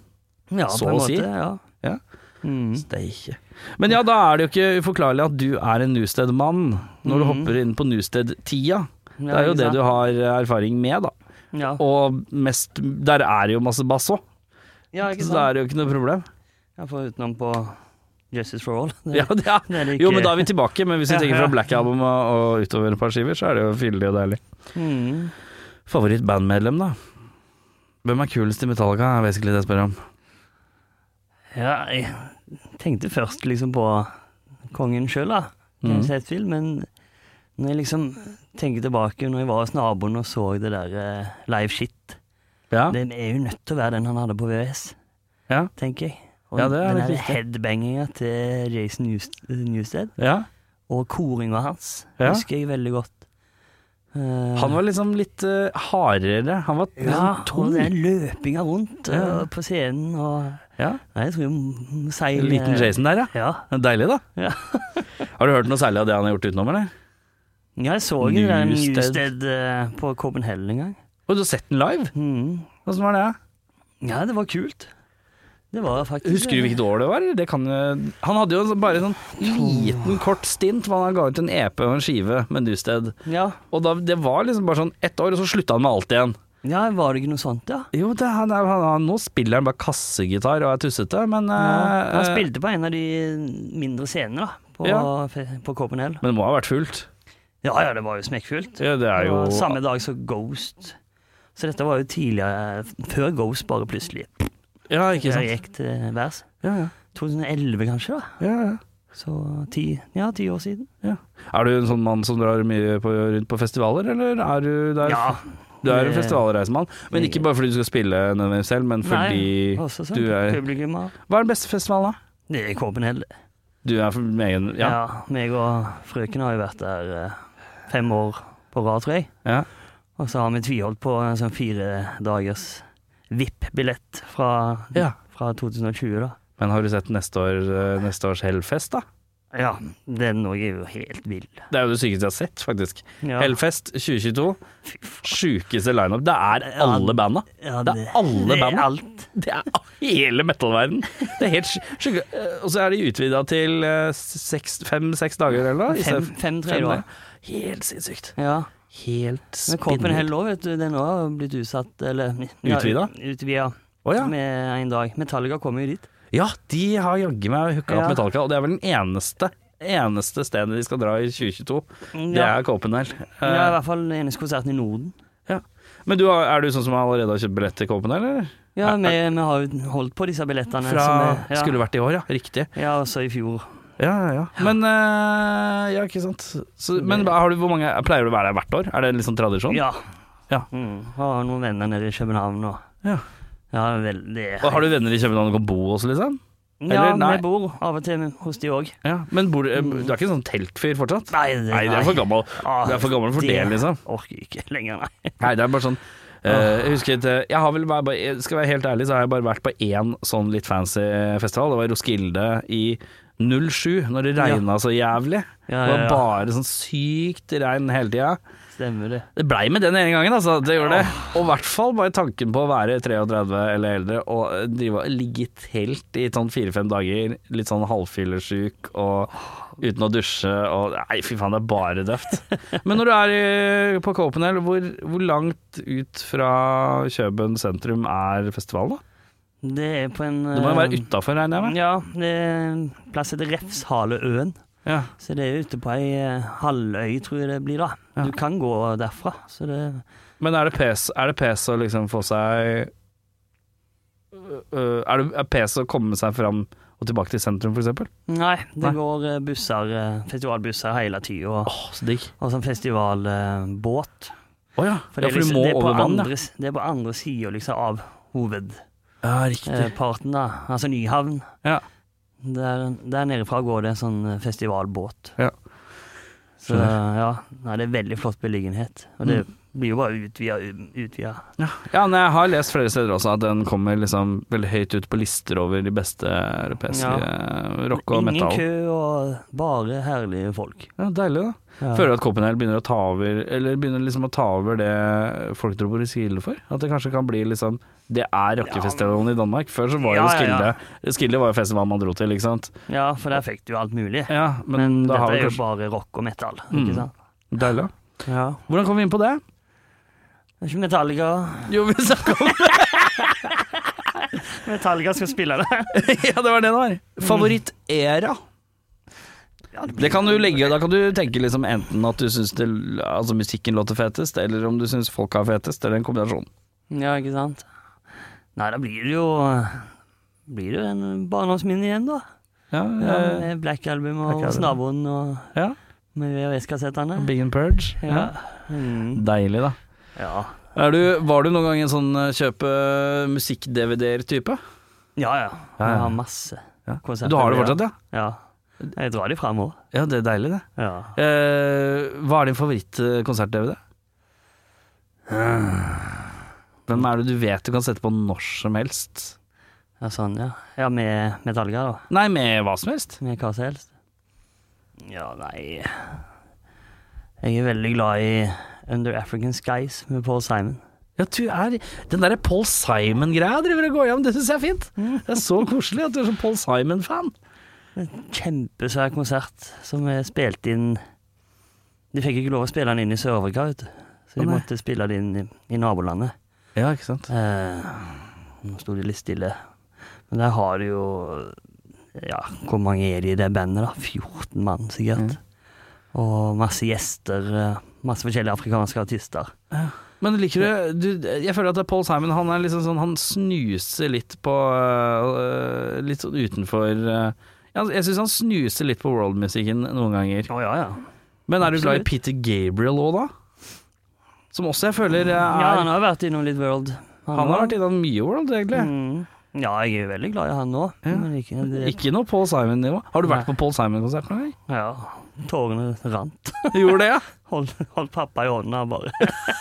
[SPEAKER 2] ja,
[SPEAKER 1] så
[SPEAKER 2] på en
[SPEAKER 1] å si.
[SPEAKER 2] måte, Ja.
[SPEAKER 1] Ja.
[SPEAKER 2] Mm.
[SPEAKER 1] Steike. Men ja, da er det jo ikke uforklarlig at du er en Newsted-mann når du
[SPEAKER 2] Mhm.
[SPEAKER 1] hopper inn på Newsted-tida.
[SPEAKER 2] Ja,
[SPEAKER 1] Det er jo
[SPEAKER 2] ikke
[SPEAKER 1] det
[SPEAKER 2] sant?
[SPEAKER 1] du har erfaring med, da.
[SPEAKER 2] Ja,
[SPEAKER 1] Og mest Der er det jo masse bass òg,
[SPEAKER 2] ja ikke
[SPEAKER 1] så
[SPEAKER 2] sant?
[SPEAKER 1] da er det jo ikke noe problem.
[SPEAKER 2] Jeg får utenom på Justice for All. Det,
[SPEAKER 1] Ja, det er.
[SPEAKER 2] det er det ikke.
[SPEAKER 1] Jo, men da er vi tilbake. Men hvis vi
[SPEAKER 2] Ja,
[SPEAKER 1] tenker fra
[SPEAKER 2] ja.
[SPEAKER 1] Black Album og, og utover et par skiver, så er det jo fyldig og deilig.
[SPEAKER 2] Mm.
[SPEAKER 1] Favorittbandmedlem, da? Hvem er kulest i Metallica, er basically det jeg spør om.
[SPEAKER 2] Ja, jeg tenkte først liksom på kongen sjøl, da. Kan
[SPEAKER 1] Mhm.
[SPEAKER 2] jeg si et film, men når jeg liksom tenker tilbake når jeg var hos naboen og så det der eh, live shit
[SPEAKER 1] Ja,
[SPEAKER 2] Det er jo nødt til å være den han hadde på VVS,
[SPEAKER 1] Ja.
[SPEAKER 2] tenker jeg. Og
[SPEAKER 1] Ja, det er
[SPEAKER 2] den
[SPEAKER 1] helt
[SPEAKER 2] der
[SPEAKER 1] riktig.
[SPEAKER 2] headbanginga til Jason Newst- Newsted
[SPEAKER 1] ja.
[SPEAKER 2] og koringa hans
[SPEAKER 1] Ja.
[SPEAKER 2] husker jeg veldig godt. Eh,
[SPEAKER 1] Han var liksom litt eh, hardere. Han var
[SPEAKER 2] ja,
[SPEAKER 1] liksom
[SPEAKER 2] og
[SPEAKER 1] tung.
[SPEAKER 2] den løpinga rundt
[SPEAKER 1] Ja.
[SPEAKER 2] eh, på scenen og
[SPEAKER 1] Ja.
[SPEAKER 2] Nei, jeg tror jeg må si
[SPEAKER 1] En liten Jason der, ja.
[SPEAKER 2] Ja.
[SPEAKER 1] Deilig, da.
[SPEAKER 2] Ja.
[SPEAKER 1] har du hørt noe særlig av det han har gjort utenom, eller?
[SPEAKER 2] ja, jeg så jo den
[SPEAKER 1] Newsted.
[SPEAKER 2] Newsted eh, på Copenhagen en gang.
[SPEAKER 1] Og du har sett den live?
[SPEAKER 2] Mhm.
[SPEAKER 1] Åssen var det?
[SPEAKER 2] Ja, det var kult. Det var faktisk
[SPEAKER 1] Husker du hvilket år det var? Det kan, jo- han hadde jo en sånn- bare en sånn liten kort stint hvor han ga ut en EP og en skive med Newsted.
[SPEAKER 2] Ja.
[SPEAKER 1] Og da, det var liksom bare sånn ett år, og så slutta han med alt igjen.
[SPEAKER 2] ja, var det ikke noe sånt, ja?
[SPEAKER 1] Jo, det, han, er- han, han, nå spiller han bare kassegitar og er tussete, men
[SPEAKER 2] Ja,
[SPEAKER 1] eh,
[SPEAKER 2] han
[SPEAKER 1] eh,
[SPEAKER 2] spilte på en av de mindre scenene da, på,
[SPEAKER 1] Ja.
[SPEAKER 2] fe- på Copenhagen.
[SPEAKER 1] Men det må ha vært fullt.
[SPEAKER 2] Ja, ja, det var jo smekkfullt.
[SPEAKER 1] Ja, det er
[SPEAKER 2] Det
[SPEAKER 1] jo
[SPEAKER 2] var samme dag som Ghost. Så dette var jo tidligere, eh, før Ghost bare plutselig
[SPEAKER 1] Ja, ikke sant.
[SPEAKER 2] gikk til værs.
[SPEAKER 1] Ja, ja.
[SPEAKER 2] 2011 kanskje, da.
[SPEAKER 1] ja, ja.
[SPEAKER 2] Så ti, ja, ti år siden.
[SPEAKER 1] Er du en sånn mann som drar mye på, rundt på festivaler, eller er du der
[SPEAKER 2] Ja,
[SPEAKER 1] Du er en
[SPEAKER 2] Det-
[SPEAKER 1] festivalreisemann, men ikke bare fordi du skal spille nødvendigvis selv, men fordi
[SPEAKER 2] også sånn.
[SPEAKER 1] du er-
[SPEAKER 2] Publikum har
[SPEAKER 1] Hva er den beste festivalen, da?
[SPEAKER 2] Det er Copenhagen.
[SPEAKER 1] Du er for meg en
[SPEAKER 2] Ja.
[SPEAKER 1] Ja.
[SPEAKER 2] meg og frøken har jo vært der eh, fem år på rad, tror jeg.
[SPEAKER 1] Ja.
[SPEAKER 2] Og så har vi tviholdt på en sånn fire dagers VIP-billett fra,
[SPEAKER 1] ja.
[SPEAKER 2] fra 2020, da.
[SPEAKER 1] Men har du sett neste, år, eh, neste års Hellfest, da?
[SPEAKER 2] Ja, den òg er jo helt vill.
[SPEAKER 1] Det er jo det sykeste jeg har sett, faktisk.
[SPEAKER 2] Ja.
[SPEAKER 1] Hellfest 2022.
[SPEAKER 2] Fy faen.
[SPEAKER 1] Sjukeste lineup. Det er alle banda.
[SPEAKER 2] Ja,
[SPEAKER 1] Det er alle
[SPEAKER 2] det er
[SPEAKER 1] band.
[SPEAKER 2] alt.
[SPEAKER 1] Det er hele metal-verden. Det er helt sj- sjuke. Eh, Og så er de utvida til eh, fem-seks dager, eller noe? i
[SPEAKER 2] Fem,
[SPEAKER 1] stedet-
[SPEAKER 2] fem tre
[SPEAKER 1] fem
[SPEAKER 2] da.
[SPEAKER 1] dager. Helt sinnssykt.
[SPEAKER 2] Ja.
[SPEAKER 1] Helt
[SPEAKER 2] Men Koppen
[SPEAKER 1] spinnvilt.
[SPEAKER 2] Hell òg, vet du. Den også har blitt utsatt, eller ja,
[SPEAKER 1] Utvida?
[SPEAKER 2] Utvida
[SPEAKER 1] Å ja.
[SPEAKER 2] med en dag. Metallica kommer jo dit.
[SPEAKER 1] Ja, de har jaggu meg hooka
[SPEAKER 2] Ja.
[SPEAKER 1] opp Metallica, og det er vel den eneste eneste stedet de skal dra i 2022. Det
[SPEAKER 2] Ja.
[SPEAKER 1] er Copenhagen. Eh,
[SPEAKER 2] ja, i hvert fall den eneste konserten i Norden.
[SPEAKER 1] ja. Men du, har- er du sånn som allerede har kjøpt billett til Copenhagen, eller?
[SPEAKER 2] Ja,
[SPEAKER 1] Er-
[SPEAKER 2] vi, vi har jo holdt på disse billettene.
[SPEAKER 1] Fra
[SPEAKER 2] som sånn er, ja.
[SPEAKER 1] Skulle vært i år, ja. Riktig.
[SPEAKER 2] Ja, og så i fjor.
[SPEAKER 1] Ja, ja, ja. Men eh, Ja, ikke sant. Så, men har du, hvor mange Pleier du å være der hvert år? Er det en litt sånn tradisjon?
[SPEAKER 2] Ja.
[SPEAKER 1] Ja.
[SPEAKER 2] Mm. Har noen venner nede i København og
[SPEAKER 1] Ja.
[SPEAKER 2] Ja, vel, det
[SPEAKER 1] Og har du venner i København og kan bo også, liksom?
[SPEAKER 2] Ja,
[SPEAKER 1] eller nei?
[SPEAKER 2] vi bor av og til hos de òg.
[SPEAKER 1] Ja. Men bor, du- eh, du er ikke en sånn teltfyr fortsatt?
[SPEAKER 2] Nei, det,
[SPEAKER 1] Nei, det er for gammel.
[SPEAKER 2] Ah,
[SPEAKER 1] Det er for gammel for det, liksom.
[SPEAKER 2] Orker jeg ikke lenger, nei.
[SPEAKER 1] Nei, det er bare sånn eh, Jeg husker at eh, Jeg har vel bare, bare- Skal jeg være helt ærlig Så har jeg bare vært på en sånn litt fancy festival Det var Roskilde i 07 Når det regnet så jævlig
[SPEAKER 2] Ja,
[SPEAKER 1] Det var
[SPEAKER 2] ja, ja.
[SPEAKER 1] bare sånn sykt regn hele tiden
[SPEAKER 2] Stemmer det.
[SPEAKER 1] Det ble med den ene gangen altså Det gjorde det Og i hvert fall bare tanken på å være 33 eller eldre Og eh, drive, ligge i telt i sånn 4-5 dager Litt sånn halvfyllesyk Og uten å dusje og, Nei fy faen det er bare døft Men når du er i- på Copenhagen hvor, hvor langt ut fra Kjøben sentrum er festivalen da?
[SPEAKER 2] Det er på en
[SPEAKER 1] Det må jo være
[SPEAKER 2] eh,
[SPEAKER 1] utenfor regner jeg med
[SPEAKER 2] Ja, det er en plass heter Refshaleøen.
[SPEAKER 1] ja.
[SPEAKER 2] Så det er ute på ei eh, halvøy, tror jeg det blir, da.
[SPEAKER 1] Ja.
[SPEAKER 2] Du kan gå derfra, så det
[SPEAKER 1] Men er det pes, er det pes å liksom få seg Øh, Er det er pes å komme seg fram og tilbake til sentrum for eksempel?
[SPEAKER 2] Nei, det
[SPEAKER 1] Nei.
[SPEAKER 2] går eh, busser, eh, festivalbusser hele tida, og,
[SPEAKER 1] Åh, så digg
[SPEAKER 2] og sånn festivalbåt.
[SPEAKER 1] Å ja.
[SPEAKER 2] For
[SPEAKER 1] ja,
[SPEAKER 2] det,
[SPEAKER 1] for du
[SPEAKER 2] er liksom,
[SPEAKER 1] må
[SPEAKER 2] det er på
[SPEAKER 1] over vann, ja.
[SPEAKER 2] andre, Det er på andre sida liksom, av hoved...
[SPEAKER 1] Ja, riktig.
[SPEAKER 2] eh, parten, da. Altså Nyhavn.
[SPEAKER 1] Ja.
[SPEAKER 2] Der, der nede fra går det en sånn eh, festivalbåt.
[SPEAKER 1] Ja.
[SPEAKER 2] Så ja, nei, det er veldig flott beliggenhet. Og det
[SPEAKER 1] Mm.
[SPEAKER 2] blir jo bare utvida, um, utvida.
[SPEAKER 1] Ja, ja men jeg har lest flere steder også at den kommer liksom veldig høyt ut på lister over de beste europeiske
[SPEAKER 2] Ja.
[SPEAKER 1] eh, rock og
[SPEAKER 2] Ingen
[SPEAKER 1] metal.
[SPEAKER 2] kø og bare herlige folk.
[SPEAKER 1] Ja, deilig, da.
[SPEAKER 2] Ja.
[SPEAKER 1] Føler du at Copenhagen begynner å ta over Eller begynner liksom å ta over det folk dro på Roskilde for? At det kanskje kan bli liksom Det er rockefestivalen i Danmark. Før så var jo
[SPEAKER 2] Ja, ja,
[SPEAKER 1] Roskilde
[SPEAKER 2] ja.
[SPEAKER 1] Roskilde var jo festivalen man dro til, ikke sant?
[SPEAKER 2] ja, for der fikk du jo alt mulig.
[SPEAKER 1] Ja, men,
[SPEAKER 2] Men,
[SPEAKER 1] da
[SPEAKER 2] dette
[SPEAKER 1] har vi
[SPEAKER 2] er jo
[SPEAKER 1] kanskje
[SPEAKER 2] bare rock og metal,
[SPEAKER 1] Mm.
[SPEAKER 2] ikke sant?
[SPEAKER 1] Deilig. da.
[SPEAKER 2] Ja.
[SPEAKER 1] Hvordan kom vi inn på det?
[SPEAKER 2] Det er ikke Metallica.
[SPEAKER 1] Jo, vi snakka om
[SPEAKER 2] Metallica skal spille det.
[SPEAKER 1] Ja, det var det det
[SPEAKER 2] Mm.
[SPEAKER 1] var. Favorittera. Det kan du legge, da kan du tenke liksom enten at du syns det- altså musikken låter fetest, eller om du syns folk har fetest, eller en kombinasjon.
[SPEAKER 2] Ja, ikke sant? Nei, da blir det jo Blir det jo en barndomsminne igjen, da.
[SPEAKER 1] Ja,
[SPEAKER 2] Ja,
[SPEAKER 1] eh,
[SPEAKER 2] med Black Album
[SPEAKER 1] Black
[SPEAKER 2] og
[SPEAKER 1] Album.
[SPEAKER 2] Snabboen og
[SPEAKER 1] Ja.
[SPEAKER 2] med VHS-kassettene.
[SPEAKER 1] Big and Purge.
[SPEAKER 2] Ja. Mm.
[SPEAKER 1] Deilig, da.
[SPEAKER 2] Ja.
[SPEAKER 1] Er du, var du noen gang en sånn eh, kjøpe musikk-DVD-er-type?
[SPEAKER 2] ja, ja.
[SPEAKER 1] Ja, ja.
[SPEAKER 2] Jeg har masse konserter.
[SPEAKER 1] Du har det fortsatt, ja?
[SPEAKER 2] Ja. Jeg drar de fram òg.
[SPEAKER 1] Ja, det er deilig, det.
[SPEAKER 2] Ja.
[SPEAKER 1] Eh, hva er din favoritt-konsert-DVD? Hvem er det du vet du kan sette på når som helst?
[SPEAKER 2] ja, sånn, ja. Ja, med Metallica, da.
[SPEAKER 1] Nei, med hva som helst.
[SPEAKER 2] Med hva som helst. Ja, nei Jeg er veldig glad i Under African Skies med Paul Simon.
[SPEAKER 1] Ja, du er Den derre Paul Simon-greia driver og går hjem, det syns jeg er fint. Det er så koselig at du er sånn Paul Simon-fan.
[SPEAKER 2] kjempesvær konsert som jeg spilte inn De fikk ikke lov å spille den inn i Sør-Afrika, vet du. Så
[SPEAKER 1] Å,
[SPEAKER 2] de
[SPEAKER 1] nei.
[SPEAKER 2] måtte spille den inn i, i nabolandet.
[SPEAKER 1] Ja, ikke sant.
[SPEAKER 2] Eh, nå sto de litt stille. Men der har du jo Ja, hvor mange er de i det bandet, da? 14 mann, sikkert. Og masse gjester. eh, Masse forskjellige afrikanske artister.
[SPEAKER 1] Men liker du, du Jeg føler at det er Paul Simon han er liksom sånn Han snuser litt på øh, Litt sånn utenfor øh, ja, Jeg syns han snuser litt på world-musikken noen ganger.
[SPEAKER 2] Å ja, ja.
[SPEAKER 1] Men er du glad i
[SPEAKER 2] absolutt.
[SPEAKER 1] Peter Gabriel òg, da? Som også jeg føler øh, er
[SPEAKER 2] Ja, han har vært innom litt World.
[SPEAKER 1] Han har vært innom mye world, egentlig.
[SPEAKER 2] Mm. Ja, jeg er jo veldig glad i han nå.
[SPEAKER 1] Ja.
[SPEAKER 2] Men ikke, det,
[SPEAKER 1] Ikke noe Paul Simon-nivå. Har du vært på Paul Simon-konsert noen gang?
[SPEAKER 2] ja, tårene rant.
[SPEAKER 1] Gjorde det, ja?
[SPEAKER 2] Hold, hold pappa i hånda, bare.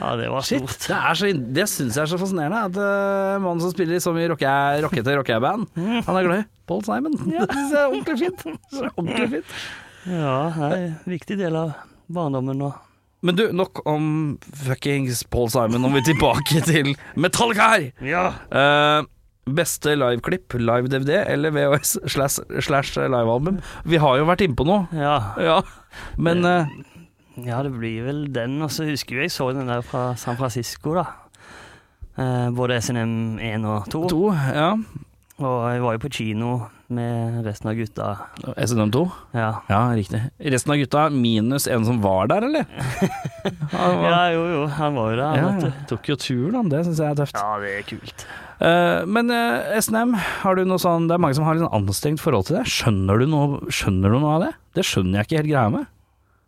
[SPEAKER 2] ja, det var
[SPEAKER 1] Shit,
[SPEAKER 2] stort.
[SPEAKER 1] det, er så, det synes jeg er så fascinerende At eh, mannen som spiller i så mye rocke, rockete rockeband Han er glad i Paul Simon Det synes jeg er ordentlig fint, Det er ordentlig fint.
[SPEAKER 2] Ja, nei, viktig del av barndommen nå.
[SPEAKER 1] Men du, nok om fuckings Paul Simon Nå må vi tilbake til Metallica her
[SPEAKER 2] Ja.
[SPEAKER 1] Eh, Beste liveklipp, live DVD Eller VHS slash, slash livealbum Vi har jo vært inne på noe
[SPEAKER 2] ja.
[SPEAKER 1] ja, men eh,
[SPEAKER 2] det blir vel den. Og så husker jeg jeg så den der fra San Francisco, da. Eh, både SNM 1 og 2.
[SPEAKER 1] to, ja
[SPEAKER 2] Og jeg var jo på kino med resten av gutta.
[SPEAKER 1] SNM 2
[SPEAKER 2] Ja.
[SPEAKER 1] Ja, riktig Resten av gutta minus en som var der, eller? Han var-
[SPEAKER 2] ja, jo jo, han var jo der,
[SPEAKER 1] Ja,
[SPEAKER 2] han, vet du.
[SPEAKER 1] tok jo turen, han. Det syns jeg er tøft.
[SPEAKER 2] Ja, det er kult.
[SPEAKER 1] Eh, men eh, SNM, har du noe sånn Det er mange som har litt sånn anstrengt forhold til det. Skjønner du noe, skjønner du noe av det? Det skjønner jeg ikke helt greia med.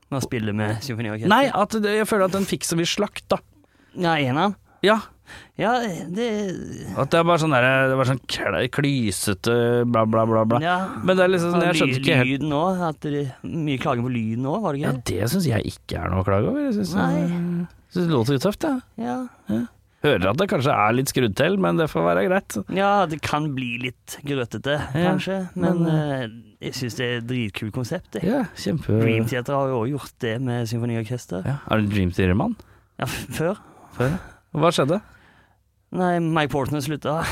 [SPEAKER 2] Nå spiller med symfoniorkester.
[SPEAKER 1] Nei, at det, jeg føler at den fikk så mye slakt, da.
[SPEAKER 2] Ja, eneren.
[SPEAKER 1] Ja.
[SPEAKER 2] Ja, det
[SPEAKER 1] At det er bare sånn derre Det er bare sånn kl- klysete bla, bla, bla, bla.
[SPEAKER 2] Ja.
[SPEAKER 1] Men det er liksom sånn, jeg skjønte ikke helt
[SPEAKER 2] Lyden òg. Mye klaging på lyden òg, var det
[SPEAKER 1] Ja,
[SPEAKER 2] ikke?
[SPEAKER 1] det syns jeg ikke er noe å klage over. Jeg syns
[SPEAKER 2] Nei.
[SPEAKER 1] det låter litt tøft, jeg.
[SPEAKER 2] Ja.
[SPEAKER 1] Hører at det kanskje er litt skrudd til, men det får være greit.
[SPEAKER 2] ja, det kan bli litt grøtete, kanskje. Men, eh, jeg syns det er et dritkult konsept. Jeg.
[SPEAKER 1] Ja, kjempe...
[SPEAKER 2] Dream Theater har jo også gjort det med symfoniorkester.
[SPEAKER 1] Ja. Er du Dream Theater-mann?
[SPEAKER 2] Ja, f- før.
[SPEAKER 1] Hva skjedde?
[SPEAKER 2] Nei, Mike Portner slutta.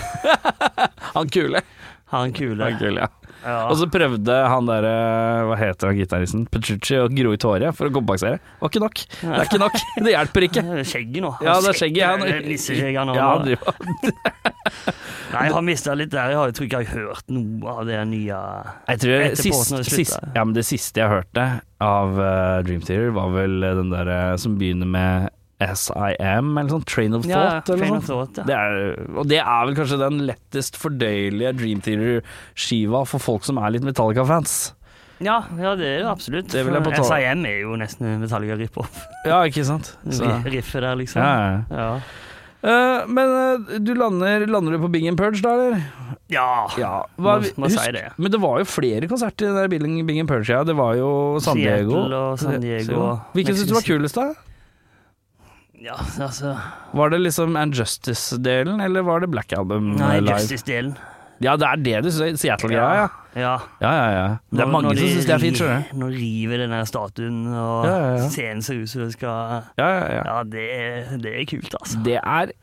[SPEAKER 1] Han kule.
[SPEAKER 2] Har en kule.
[SPEAKER 1] Han kule, ja.
[SPEAKER 2] Ja.
[SPEAKER 1] Og så prøvde han der eh, Hva heter han gitaristen? Petrucci å gro ut håret for å kompensere. Var ikke nok. Det er ikke nok. Det hjelper ikke.
[SPEAKER 2] Det er Skjegget nå.
[SPEAKER 1] Ja, det er skjegget.
[SPEAKER 2] Han
[SPEAKER 1] Han,
[SPEAKER 2] skjekker, det er nisseskjegget han har
[SPEAKER 1] ja,
[SPEAKER 2] nå.
[SPEAKER 1] han driver-
[SPEAKER 2] Nei, jeg har mista litt der. Jeg har- jeg tror ikke jeg har hørt noe av det nye
[SPEAKER 1] jeg tror
[SPEAKER 2] Etter
[SPEAKER 1] sist,
[SPEAKER 2] Portnoy slutta.
[SPEAKER 1] sist, ja, men det siste jeg hørte av eh, Dream Theater, var vel eh, den derre som begynner med SIM, eller sånn Train of Thought, eller
[SPEAKER 2] Train
[SPEAKER 1] noe
[SPEAKER 2] of
[SPEAKER 1] sånt.
[SPEAKER 2] Thought,
[SPEAKER 1] Det
[SPEAKER 2] ja.
[SPEAKER 1] er, og det er vel kanskje den lettest fordøyelige Dream Theater-skiva for folk som er litt Metallica-fans.
[SPEAKER 2] Ja, ja, det er det absolutt.
[SPEAKER 1] Det vil jeg betale.
[SPEAKER 2] SIM er jo nesten en Metallica rip-off.
[SPEAKER 1] Ja, ikke sant? Så, ja,
[SPEAKER 2] Riffet der, liksom.
[SPEAKER 1] ja. ja.
[SPEAKER 2] Ja.
[SPEAKER 1] Eh, Eh, men eh, du lander, lander du på Bing and Purge da, eller?
[SPEAKER 2] Ja,
[SPEAKER 1] Hva,
[SPEAKER 2] må, må
[SPEAKER 1] husk,
[SPEAKER 2] si det.
[SPEAKER 1] Men det var jo flere konserter i den der Bing, Bing and Purge, ja. Det var jo San Diego.
[SPEAKER 2] Seattle og San Diego.
[SPEAKER 1] Hvilken syns du var
[SPEAKER 2] Mexico
[SPEAKER 1] kulest, da?
[SPEAKER 2] City. Ja, altså
[SPEAKER 1] Var det liksom And Justice-delen, eller var det Black Album
[SPEAKER 2] Nei,
[SPEAKER 1] eh, live?
[SPEAKER 2] Justice-delen.
[SPEAKER 1] Ja, det er det du syns. Seattle-greia, ja.
[SPEAKER 2] ja.
[SPEAKER 1] Ja, ja, ja. Det er
[SPEAKER 2] Når-
[SPEAKER 1] mange
[SPEAKER 2] når
[SPEAKER 1] som
[SPEAKER 2] de
[SPEAKER 1] syns det er fint,
[SPEAKER 2] ri-
[SPEAKER 1] skjønner du.
[SPEAKER 2] Når de river den der statuen, og
[SPEAKER 1] Ja, ja, ja.
[SPEAKER 2] scenen ser ut som det skal
[SPEAKER 1] Ja, ja, ja.
[SPEAKER 2] Ja, det, er- det er kult, altså.
[SPEAKER 1] Det er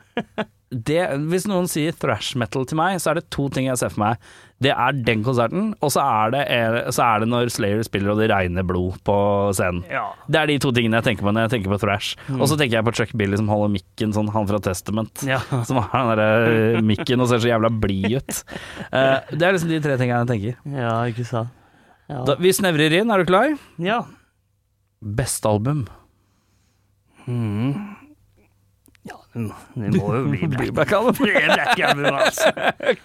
[SPEAKER 1] det, Hvis noen sier thrash metal til meg, så er det to ting jeg ser for meg. Det er den konserten, og så er det, er- så er det når Slayer spiller og det regner blod på scenen.
[SPEAKER 2] Ja.
[SPEAKER 1] Det er de to tingene jeg tenker på når jeg tenker på thrash.
[SPEAKER 2] Mm.
[SPEAKER 1] Og så tenker jeg på Chuck Billy som holder mikken sånn, han fra Testament.
[SPEAKER 2] ja.
[SPEAKER 1] Som har den derre mikken og ser så jævla blid ut. Eh, det er liksom de tre tingene jeg tenker.
[SPEAKER 2] Ja, ikke sant. Ja.
[SPEAKER 1] Da, vi snevrer inn, er du klar?
[SPEAKER 2] ja.
[SPEAKER 1] Beste album. Mm.
[SPEAKER 2] ja det må jo bli Black
[SPEAKER 1] Black Album.
[SPEAKER 2] Det er Black Album, altså.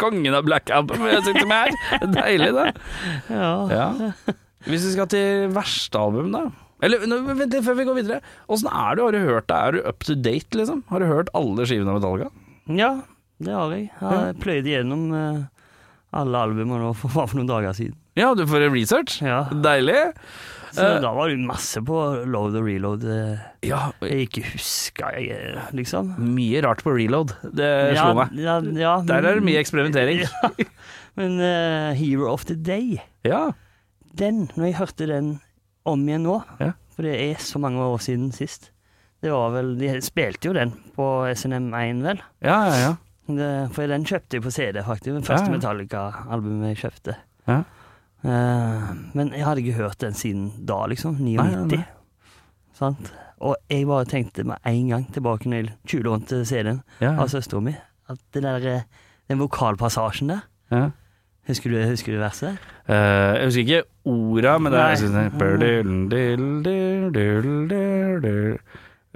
[SPEAKER 1] Kongen av Black Album jeg sitter med her. Deilig, det.
[SPEAKER 2] Ja.
[SPEAKER 1] Ja. Hvis vi skal til verste album, da. Eller nå, vent litt før vi går videre. Åssen er du? Har du hørt det? Er du up to date, liksom? Har du hørt alle skivene av Metallica?
[SPEAKER 2] ja, det har jeg. Jeg har pløyd igjennom eh, alle albumene nå for, bare for noen dager siden.
[SPEAKER 1] Ja, du får research.
[SPEAKER 2] Ja.
[SPEAKER 1] Deilig.
[SPEAKER 2] Så
[SPEAKER 1] Eh.
[SPEAKER 2] da var det masse på load og reload eh,
[SPEAKER 1] Ja,
[SPEAKER 2] jeg ikke huska, jeg, eh, liksom.
[SPEAKER 1] mye rart på reload. Det
[SPEAKER 2] Ja,
[SPEAKER 1] slo Eh, meg.
[SPEAKER 2] ja, ja,
[SPEAKER 1] Der er det
[SPEAKER 2] men-
[SPEAKER 1] mye eksperimentering.
[SPEAKER 2] Men eh, Hero of the Day,
[SPEAKER 1] Ja.
[SPEAKER 2] den, når jeg hørte den om igjen nå
[SPEAKER 1] Ja.
[SPEAKER 2] For det er så mange år siden sist. Det var vel, De spilte jo den på SNM1, vel.
[SPEAKER 1] Ja, ja, ja.
[SPEAKER 2] Det, for den kjøpte jeg på CD, faktisk. Det første
[SPEAKER 1] Ja, ja.
[SPEAKER 2] Metallica-albumet jeg kjøpte.
[SPEAKER 1] Ja.
[SPEAKER 2] Eh, men jeg hadde ikke hørt den siden da, liksom. 99.
[SPEAKER 1] Nei, nei, nei.
[SPEAKER 2] Sant? Og jeg bare tenkte med en gang tilbake når jeg tjuvlånte CD-en
[SPEAKER 1] ja,
[SPEAKER 2] av søstera mi, at det der, eh, den vokalpassasjen der
[SPEAKER 1] ja.
[SPEAKER 2] Husker du, husker du verset?
[SPEAKER 1] Eh, jeg husker ikke orda, men det er liksom sånn
[SPEAKER 2] Nei.
[SPEAKER 1] jeg synes det er-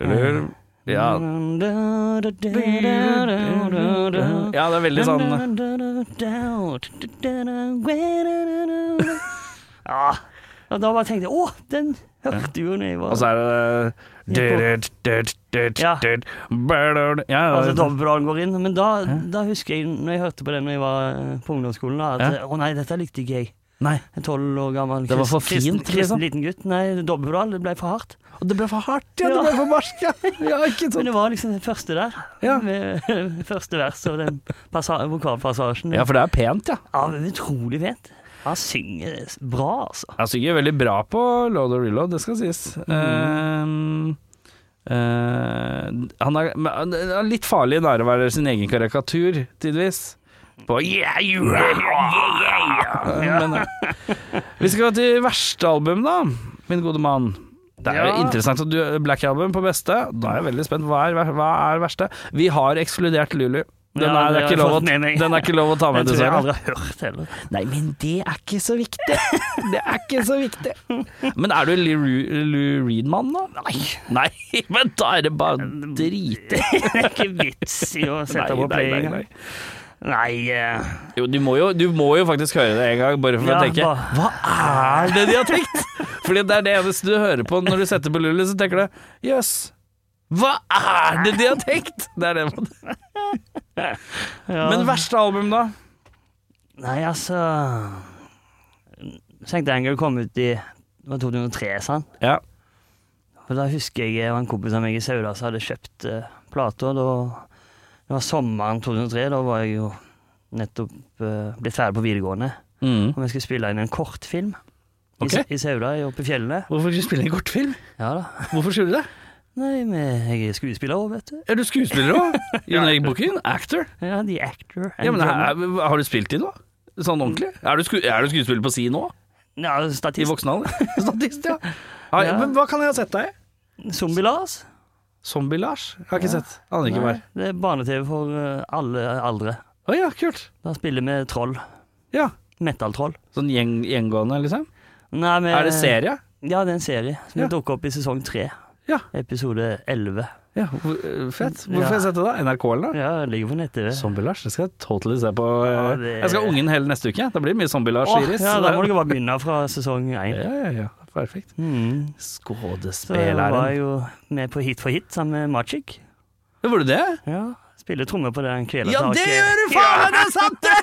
[SPEAKER 1] Ja. ja, det er veldig sånn eh,
[SPEAKER 2] Ja. Og da bare tenkte jeg Å, den hørte jo når jeg var
[SPEAKER 1] Og så er det
[SPEAKER 2] Ja.
[SPEAKER 1] Ja,
[SPEAKER 2] Altså
[SPEAKER 1] det-
[SPEAKER 2] dobbeltpedalen går inn. Men da, da husker jeg, når jeg hørte på den når jeg var eh, på ungdomsskolen, da, at
[SPEAKER 1] Ja.
[SPEAKER 2] å nei, dette likte ikke jeg.
[SPEAKER 1] Nei.
[SPEAKER 2] En tolv år gammel
[SPEAKER 1] Det var for
[SPEAKER 2] kristen-
[SPEAKER 1] fint,
[SPEAKER 2] kristen,
[SPEAKER 1] liksom.
[SPEAKER 2] kristen liten gutt. Nei, dobbeltpedal, det ble for hardt.
[SPEAKER 1] Og det ble for hardt, ja. Det
[SPEAKER 2] Ja.
[SPEAKER 1] ble for barskt, ja. ja ikke
[SPEAKER 2] Men
[SPEAKER 1] sant.
[SPEAKER 2] det var liksom det første der.
[SPEAKER 1] Ja.
[SPEAKER 2] Med første vers og den passa vokalpassasjen.
[SPEAKER 1] Ja, for det er pent, ja.
[SPEAKER 2] Ja, men utrolig fint. Han synger bra, altså.
[SPEAKER 1] Jeg synger veldig bra på load og reload, det skal sies.
[SPEAKER 2] Mhm.
[SPEAKER 1] Eh, eh, han, er, men han er litt farlig nære å være sin egen karikatur, tidvis. På yeah, you are, yeah, yeah, yeah. Men, eh, vi skal gå til verste album, da, min gode mann. Det er jo
[SPEAKER 2] Ja.
[SPEAKER 1] interessant at du Black Album på beste. Da er jeg veldig spent. Hva er, hva er verste? Vi har ekskludert Lulu. Den,
[SPEAKER 2] Ja,
[SPEAKER 1] er,
[SPEAKER 2] det
[SPEAKER 1] det
[SPEAKER 2] har
[SPEAKER 1] er
[SPEAKER 2] jeg
[SPEAKER 1] ikke lov å,
[SPEAKER 2] fått med meg.
[SPEAKER 1] den er ikke lov å ta
[SPEAKER 2] Den
[SPEAKER 1] med,
[SPEAKER 2] tror jeg
[SPEAKER 1] dessverre.
[SPEAKER 2] aldri har hørt heller.
[SPEAKER 1] Nei, men det er ikke så viktig. Det er ikke så viktig. Men er du en Lou Lou Reed-mann, da? Nei. Nei, men da er det bare drite.
[SPEAKER 2] Det er ikke vits i å sette på play engang. Nei, eh,
[SPEAKER 1] Jo, du må jo, du må jo faktisk høre det en gang, bare for
[SPEAKER 2] Ja,
[SPEAKER 1] å tenke
[SPEAKER 2] bare-
[SPEAKER 1] Hva er det de har tenkt?! Fordi det er det eneste du hører på når du setter på Lulu, så tenker du jøss. Hva er det de har tenkt?! Det er det man
[SPEAKER 2] ja.
[SPEAKER 1] Men verste album, da?
[SPEAKER 2] Nei, altså mm, St. Anger kom ut i det var 2003, sant?
[SPEAKER 1] Ja.
[SPEAKER 2] For da husker jeg det var en kompis av meg i Sauda som hadde kjøpt uh, plater. Da, det var sommeren 2003, da var jeg jo nettopp eh, blitt ferdig på videregående.
[SPEAKER 1] Mm.
[SPEAKER 2] Og vi skulle spille inn en kortfilm
[SPEAKER 1] Ok.
[SPEAKER 2] i, Sa- i Sauda, i- oppe i fjellene.
[SPEAKER 1] Hvorfor skulle du spille en kortfilm?
[SPEAKER 2] Ja da.
[SPEAKER 1] Hvorfor skulle du det?
[SPEAKER 2] Nei, men jeg er skuespiller òg, vet du.
[SPEAKER 1] Er du skuespiller òg? Jon Erik Bukken? Actor?
[SPEAKER 2] Ja, The actor. and
[SPEAKER 1] Ja, men
[SPEAKER 2] drummer.
[SPEAKER 1] er, er- har du spilt i noe? Sånn ordentlig? Er du, sku, er du skuespiller på si nå?
[SPEAKER 2] ja,
[SPEAKER 1] I
[SPEAKER 2] statist.
[SPEAKER 1] voksen alder? Statist, ja. Har,
[SPEAKER 2] Ja.
[SPEAKER 1] Men hva kan jeg ha sett deg i?
[SPEAKER 2] Zombie-Lars.
[SPEAKER 1] Zombie-Lars? Har ikke sett. Aner ikke hva
[SPEAKER 2] Nei,
[SPEAKER 1] er.
[SPEAKER 2] Det er barne-TV for eh, alle aldre.
[SPEAKER 1] Å ja, kult.
[SPEAKER 2] Da spiller vi troll.
[SPEAKER 1] Ja.
[SPEAKER 2] Metal-troll.
[SPEAKER 1] Sånn gjeng, gjengående, liksom?
[SPEAKER 2] Nei, men-
[SPEAKER 1] Er det serie?
[SPEAKER 2] Ja, det er en serie som
[SPEAKER 1] Ja.
[SPEAKER 2] dukker opp i sesong tre.
[SPEAKER 1] Ja.
[SPEAKER 2] Episode 11.
[SPEAKER 1] Ja, hvor- øh, fett. Hvorfor
[SPEAKER 2] Ja.
[SPEAKER 1] har jeg sett det da? NRK eller noe?
[SPEAKER 2] Ja, det ligger på nettet.
[SPEAKER 1] Zombie-Lars, det skal jeg totally se på.
[SPEAKER 2] Ja,
[SPEAKER 1] øh,
[SPEAKER 2] det-
[SPEAKER 1] Jeg skal ha ungen hele neste uke. Da blir det mye
[SPEAKER 2] Åh,
[SPEAKER 1] Zombie-Lars-iris.
[SPEAKER 2] ja, da må du bare begynne fra sesong én.
[SPEAKER 1] ja, ja, ja. Perfekt.
[SPEAKER 2] Mm. Så jeg var
[SPEAKER 1] Skådespilleren.
[SPEAKER 2] jo med på Hit for hit sammen med Magic.
[SPEAKER 1] Ja, Var du det?
[SPEAKER 2] Ja, Spiller trommer på det
[SPEAKER 1] Ja,
[SPEAKER 2] kvelertaket.
[SPEAKER 1] det gjør du faen! Det er sant, det!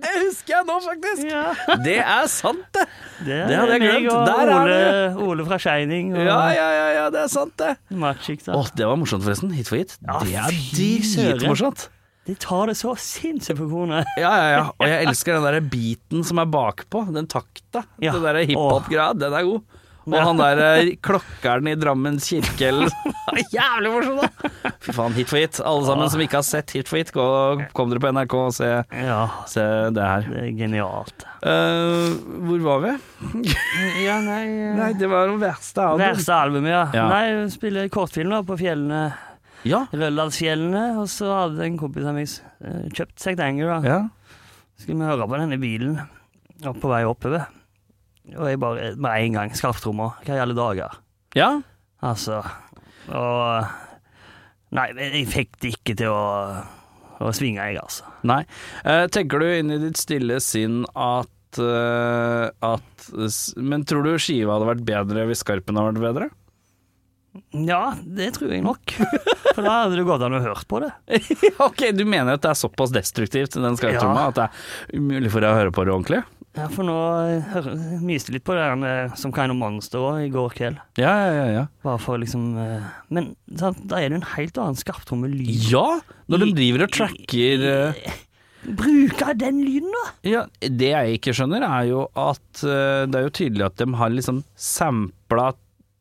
[SPEAKER 1] Det husker jeg nå, faktisk.
[SPEAKER 2] Ja,
[SPEAKER 1] Det er sant, det.
[SPEAKER 2] det,
[SPEAKER 1] Det hadde
[SPEAKER 2] er
[SPEAKER 1] jeg
[SPEAKER 2] meg
[SPEAKER 1] glemt.
[SPEAKER 2] og
[SPEAKER 1] Der er
[SPEAKER 2] Ole, Ole fra Shining og
[SPEAKER 1] Ja, ja, ja, ja det er sant, det.
[SPEAKER 2] Magic. Da.
[SPEAKER 1] Å, det var morsomt, forresten. Hit for hit. Det er
[SPEAKER 2] fy søren.
[SPEAKER 1] dritmorsomt.
[SPEAKER 2] De tar det så sinnssykt på kornet.
[SPEAKER 1] Ja, ja, ja. Og jeg elsker den der beaten som er bakpå. Den takta.
[SPEAKER 2] Ja.
[SPEAKER 1] Den der hiphop-greia. Den er god. Og
[SPEAKER 2] Ja.
[SPEAKER 1] han der eh, klokkeren i Drammens kirke eller Jævlig morsom, da! Fy faen, hit for hit. Alle sammen som ikke har sett Hit for hit, gå, kom dere på NRK og se,
[SPEAKER 2] Ja,
[SPEAKER 1] se det her.
[SPEAKER 2] det er genialt.
[SPEAKER 1] Eh, hvor var vi?
[SPEAKER 2] Ja, nei, eh.
[SPEAKER 1] Nei, det var det verste av det.
[SPEAKER 2] Verste albumet, ja.
[SPEAKER 1] Ja.
[SPEAKER 2] Nei, spiller kortfilm da, på fjellene.
[SPEAKER 1] Ja.
[SPEAKER 2] Røldalsfjellene. Og så hadde en kompis av meg s- eh, kjøpt Sact Anger, da.
[SPEAKER 1] ja.
[SPEAKER 2] Skulle vi høre på denne bilen ja, på vei oppover. Og jeg bare med en gang skarptrommer. Hva i alle dager?
[SPEAKER 1] Ja.
[SPEAKER 2] Altså Og Nei, men jeg fikk det ikke til å, å svinge, jeg, altså.
[SPEAKER 1] Nei. Eh, tenker du inn i ditt stille sinn at eh, at s- Men tror du skiva hadde vært bedre hvis Skarpen hadde vært bedre?
[SPEAKER 2] Ja, det tror jeg nok. For da hadde det gått an å høre på det.
[SPEAKER 1] Ok, du mener at det er såpass destruktivt den skarptromma
[SPEAKER 2] Ja.
[SPEAKER 1] at det er umulig for deg å høre på det ordentlig?
[SPEAKER 2] Ja, For nå eh, hører- myste jeg litt på det der med Som Kind of Monster også i går kveld.
[SPEAKER 1] Ja, ja, ja.
[SPEAKER 2] Bare for liksom eh, Men sant, da er det en helt annen skarptrommelyd.
[SPEAKER 1] Ja, når de driver og tracker eh,
[SPEAKER 2] Bruker den lyden, da!
[SPEAKER 1] ja, Det jeg ikke skjønner, er jo at eh, det er jo tydelig at de har liksom sampla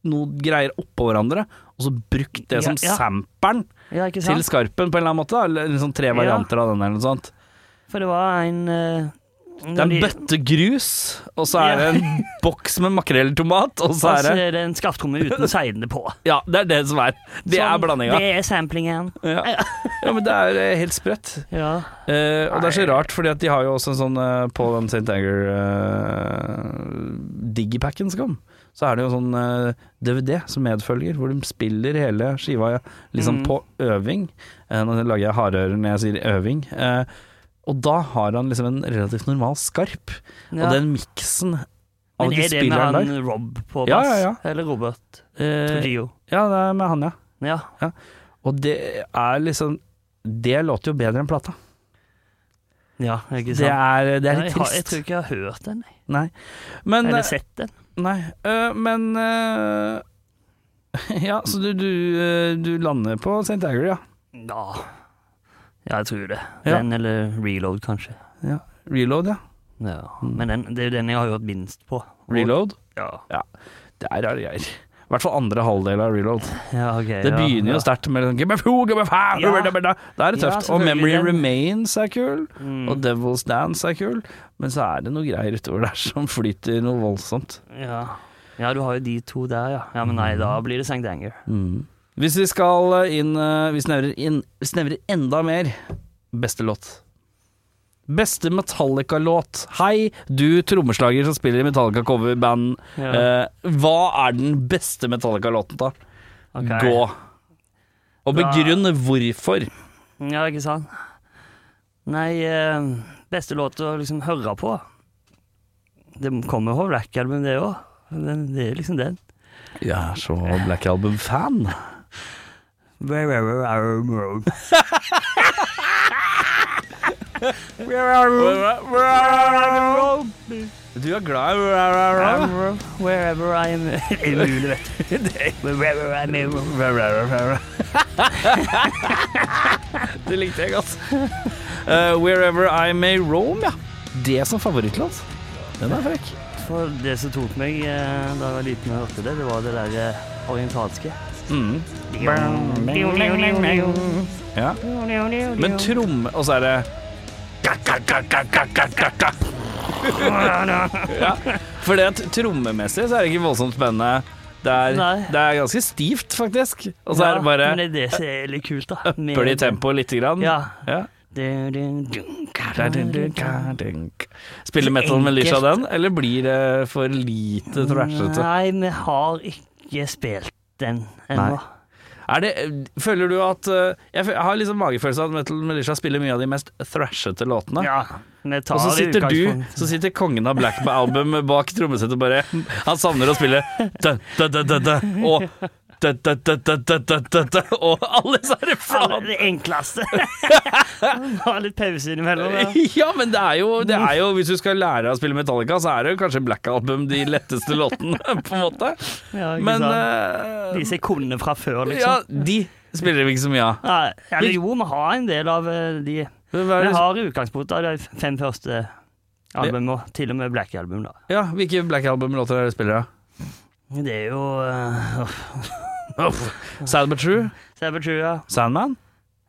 [SPEAKER 1] noe greier oppå hverandre, og så brukt det som
[SPEAKER 2] Ja, ja.
[SPEAKER 1] samperen
[SPEAKER 2] Ja, ikke
[SPEAKER 1] til
[SPEAKER 2] sant?
[SPEAKER 1] skarpen på en eller annen måte. da, Eller liksom tre
[SPEAKER 2] Ja.
[SPEAKER 1] varianter av den eller noe sånt.
[SPEAKER 2] For det var en eh,
[SPEAKER 1] Det er
[SPEAKER 2] når
[SPEAKER 1] en
[SPEAKER 2] de-
[SPEAKER 1] bøtte grus, og så er det en boks med makrell i tomat, og så
[SPEAKER 2] Og så
[SPEAKER 1] er det
[SPEAKER 2] er eh, det en skarptromme uten seidene på.
[SPEAKER 1] Ja, det er det som er. Det er
[SPEAKER 2] Sånn,
[SPEAKER 1] blandinga.
[SPEAKER 2] Det er samplingen.
[SPEAKER 1] Ja. ja, men det er eh, helt sprøtt.
[SPEAKER 2] Ja.
[SPEAKER 1] Eh, og det er så rart, fordi at de har jo også en sånn eh, på den St. Anger eh, digipacken som kom, så er det jo sånn eh, DVD som medfølger, hvor de spiller hele skiva liksom
[SPEAKER 2] Mm.
[SPEAKER 1] på øving. Eh, nå lager jeg hardører når jeg sier øving. Eh, og da har han liksom en relativt normal skarp,
[SPEAKER 2] ja.
[SPEAKER 1] og den miksen av
[SPEAKER 2] Men
[SPEAKER 1] de
[SPEAKER 2] er det med
[SPEAKER 1] spillerne
[SPEAKER 2] han
[SPEAKER 1] der
[SPEAKER 2] Rob på
[SPEAKER 1] Ja,
[SPEAKER 2] bass?
[SPEAKER 1] ja, ja.
[SPEAKER 2] Eller Robert
[SPEAKER 1] eh,
[SPEAKER 2] Trujillo?
[SPEAKER 1] Ja, det er med han, ja.
[SPEAKER 2] Ja.
[SPEAKER 1] Og det er liksom Det låter jo bedre enn plata.
[SPEAKER 2] ja, ikke sant?
[SPEAKER 1] Det er, det er
[SPEAKER 2] Ja,
[SPEAKER 1] litt
[SPEAKER 2] jeg, har, jeg
[SPEAKER 1] trist.
[SPEAKER 2] tror ikke jeg har hørt den, jeg.
[SPEAKER 1] Nei. Men eh,
[SPEAKER 2] eller sett den.
[SPEAKER 1] Nei, øh, men øh, Ja, så du, du, øh, du lander på St. Agger, ja.
[SPEAKER 2] Ja. ja, jeg tror det.
[SPEAKER 1] Ja.
[SPEAKER 2] Den eller Reload, kanskje.
[SPEAKER 1] Reload, ja.
[SPEAKER 2] Ja.
[SPEAKER 1] Mm.
[SPEAKER 2] Men den, det er jo den jeg har hørt minst på. Og-
[SPEAKER 1] Reload?
[SPEAKER 2] Ja.
[SPEAKER 1] Det er rare greier. I hvert fall andre halvdel av Reload.
[SPEAKER 2] ja, ok.
[SPEAKER 1] Det
[SPEAKER 2] ja,
[SPEAKER 1] begynner jo
[SPEAKER 2] ja.
[SPEAKER 1] sterkt med sånn Give me food, give me fire,
[SPEAKER 2] Ja.
[SPEAKER 1] blah, blah, blah. Da er det
[SPEAKER 2] Ja,
[SPEAKER 1] tøft. og
[SPEAKER 2] selvfølgelig,
[SPEAKER 1] Memory
[SPEAKER 2] den-
[SPEAKER 1] Remains er kul,
[SPEAKER 2] Mm.
[SPEAKER 1] og Devil's Dance er kul, men så er det noe greier utover der som flyter noe voldsomt.
[SPEAKER 2] Ja. Mm. ja, du har jo de to der, ja. Ja, Men nei, da blir det St. Anger.
[SPEAKER 1] Mm. Hvis vi skal øh, inn øh, Vi snevrer inn vi snevrer enda mer. Beste låt. Beste Metallica-låt. Hei, du trommeslager som spiller i Metallica-coverband.
[SPEAKER 2] Ja.
[SPEAKER 1] Eh, hva er den beste Metallica-låten, da?
[SPEAKER 2] Ok.
[SPEAKER 1] Gå. Og
[SPEAKER 2] Da-
[SPEAKER 1] begrunn hvorfor.
[SPEAKER 2] Ja, ikke sant? Nei, eh, beste låt å liksom høre på Det kommer jo Black Album, det òg. Det er liksom den.
[SPEAKER 1] Jeg er så Black Album-fan. Du er glad i
[SPEAKER 2] Wherever I am Det er mulig, vet du. Wherever I am
[SPEAKER 1] Det likte jeg godt. Eh, wherever I may roam, ja. Det som favorittlåt. Den er frekk.
[SPEAKER 2] For det som tok meg eh, da jeg var liten og hørte det, det var det der eh, orientalske.
[SPEAKER 1] Mm. Ja. Men tromme Og så er det ja. For det at trommemessig så er det ikke voldsomt spennende. Det er,
[SPEAKER 2] Nei.
[SPEAKER 1] det er ganske stivt, faktisk. Og så er det bare
[SPEAKER 2] Ja, Men det er det som er litt kult, da. Med-
[SPEAKER 1] øpper det i tempoet lite grann.
[SPEAKER 2] Ja.
[SPEAKER 1] Ja.
[SPEAKER 2] Du, du, du, ka, da, du, du, ka.
[SPEAKER 1] Spiller Metal
[SPEAKER 2] Enkelt.
[SPEAKER 1] Militia den, eller blir det for lite trashete?
[SPEAKER 2] Nei, vi har ikke spilt den ennå.
[SPEAKER 1] Er det, føler du at eh, Jeg fø- jeg har liksom magefølelse av at Metal Militia spiller mye av de mest thrashete låtene.
[SPEAKER 2] Ja, vi tar
[SPEAKER 1] Og så sitter du,
[SPEAKER 2] utgangspunkt.
[SPEAKER 1] så sitter kongen av Black Album bak trommesettet og bare Han savner å spille dø, dø, dø, dø, dø, og da, da, da, da, da, da, da, da, Og alle så er det flat.
[SPEAKER 2] Alle- Det enkleste. Ha litt pause innimellom. da.
[SPEAKER 1] Ja, men det er, jo, det er jo Hvis du skal lære deg å spille Metallica, så er det jo kanskje Black Album de letteste låtene, på en måte.
[SPEAKER 2] Ja, ikke
[SPEAKER 1] Men
[SPEAKER 2] sant?
[SPEAKER 1] eh,
[SPEAKER 2] De sekundene fra før,
[SPEAKER 1] Ja,
[SPEAKER 2] liksom.
[SPEAKER 1] de spiller vi ikke så mye av.
[SPEAKER 2] Nei, eller jo, vi har en del av eh, de
[SPEAKER 1] Hva er
[SPEAKER 2] Vi
[SPEAKER 1] det-
[SPEAKER 2] har i utgangspunktet av de fem første album, og til og med Black Album, da.
[SPEAKER 1] Ja, Hvilke Black Album-låter er det spiller av?
[SPEAKER 2] Det er jo uh,
[SPEAKER 1] Sad But True?
[SPEAKER 2] Sabertrue, ja.
[SPEAKER 1] Sandman?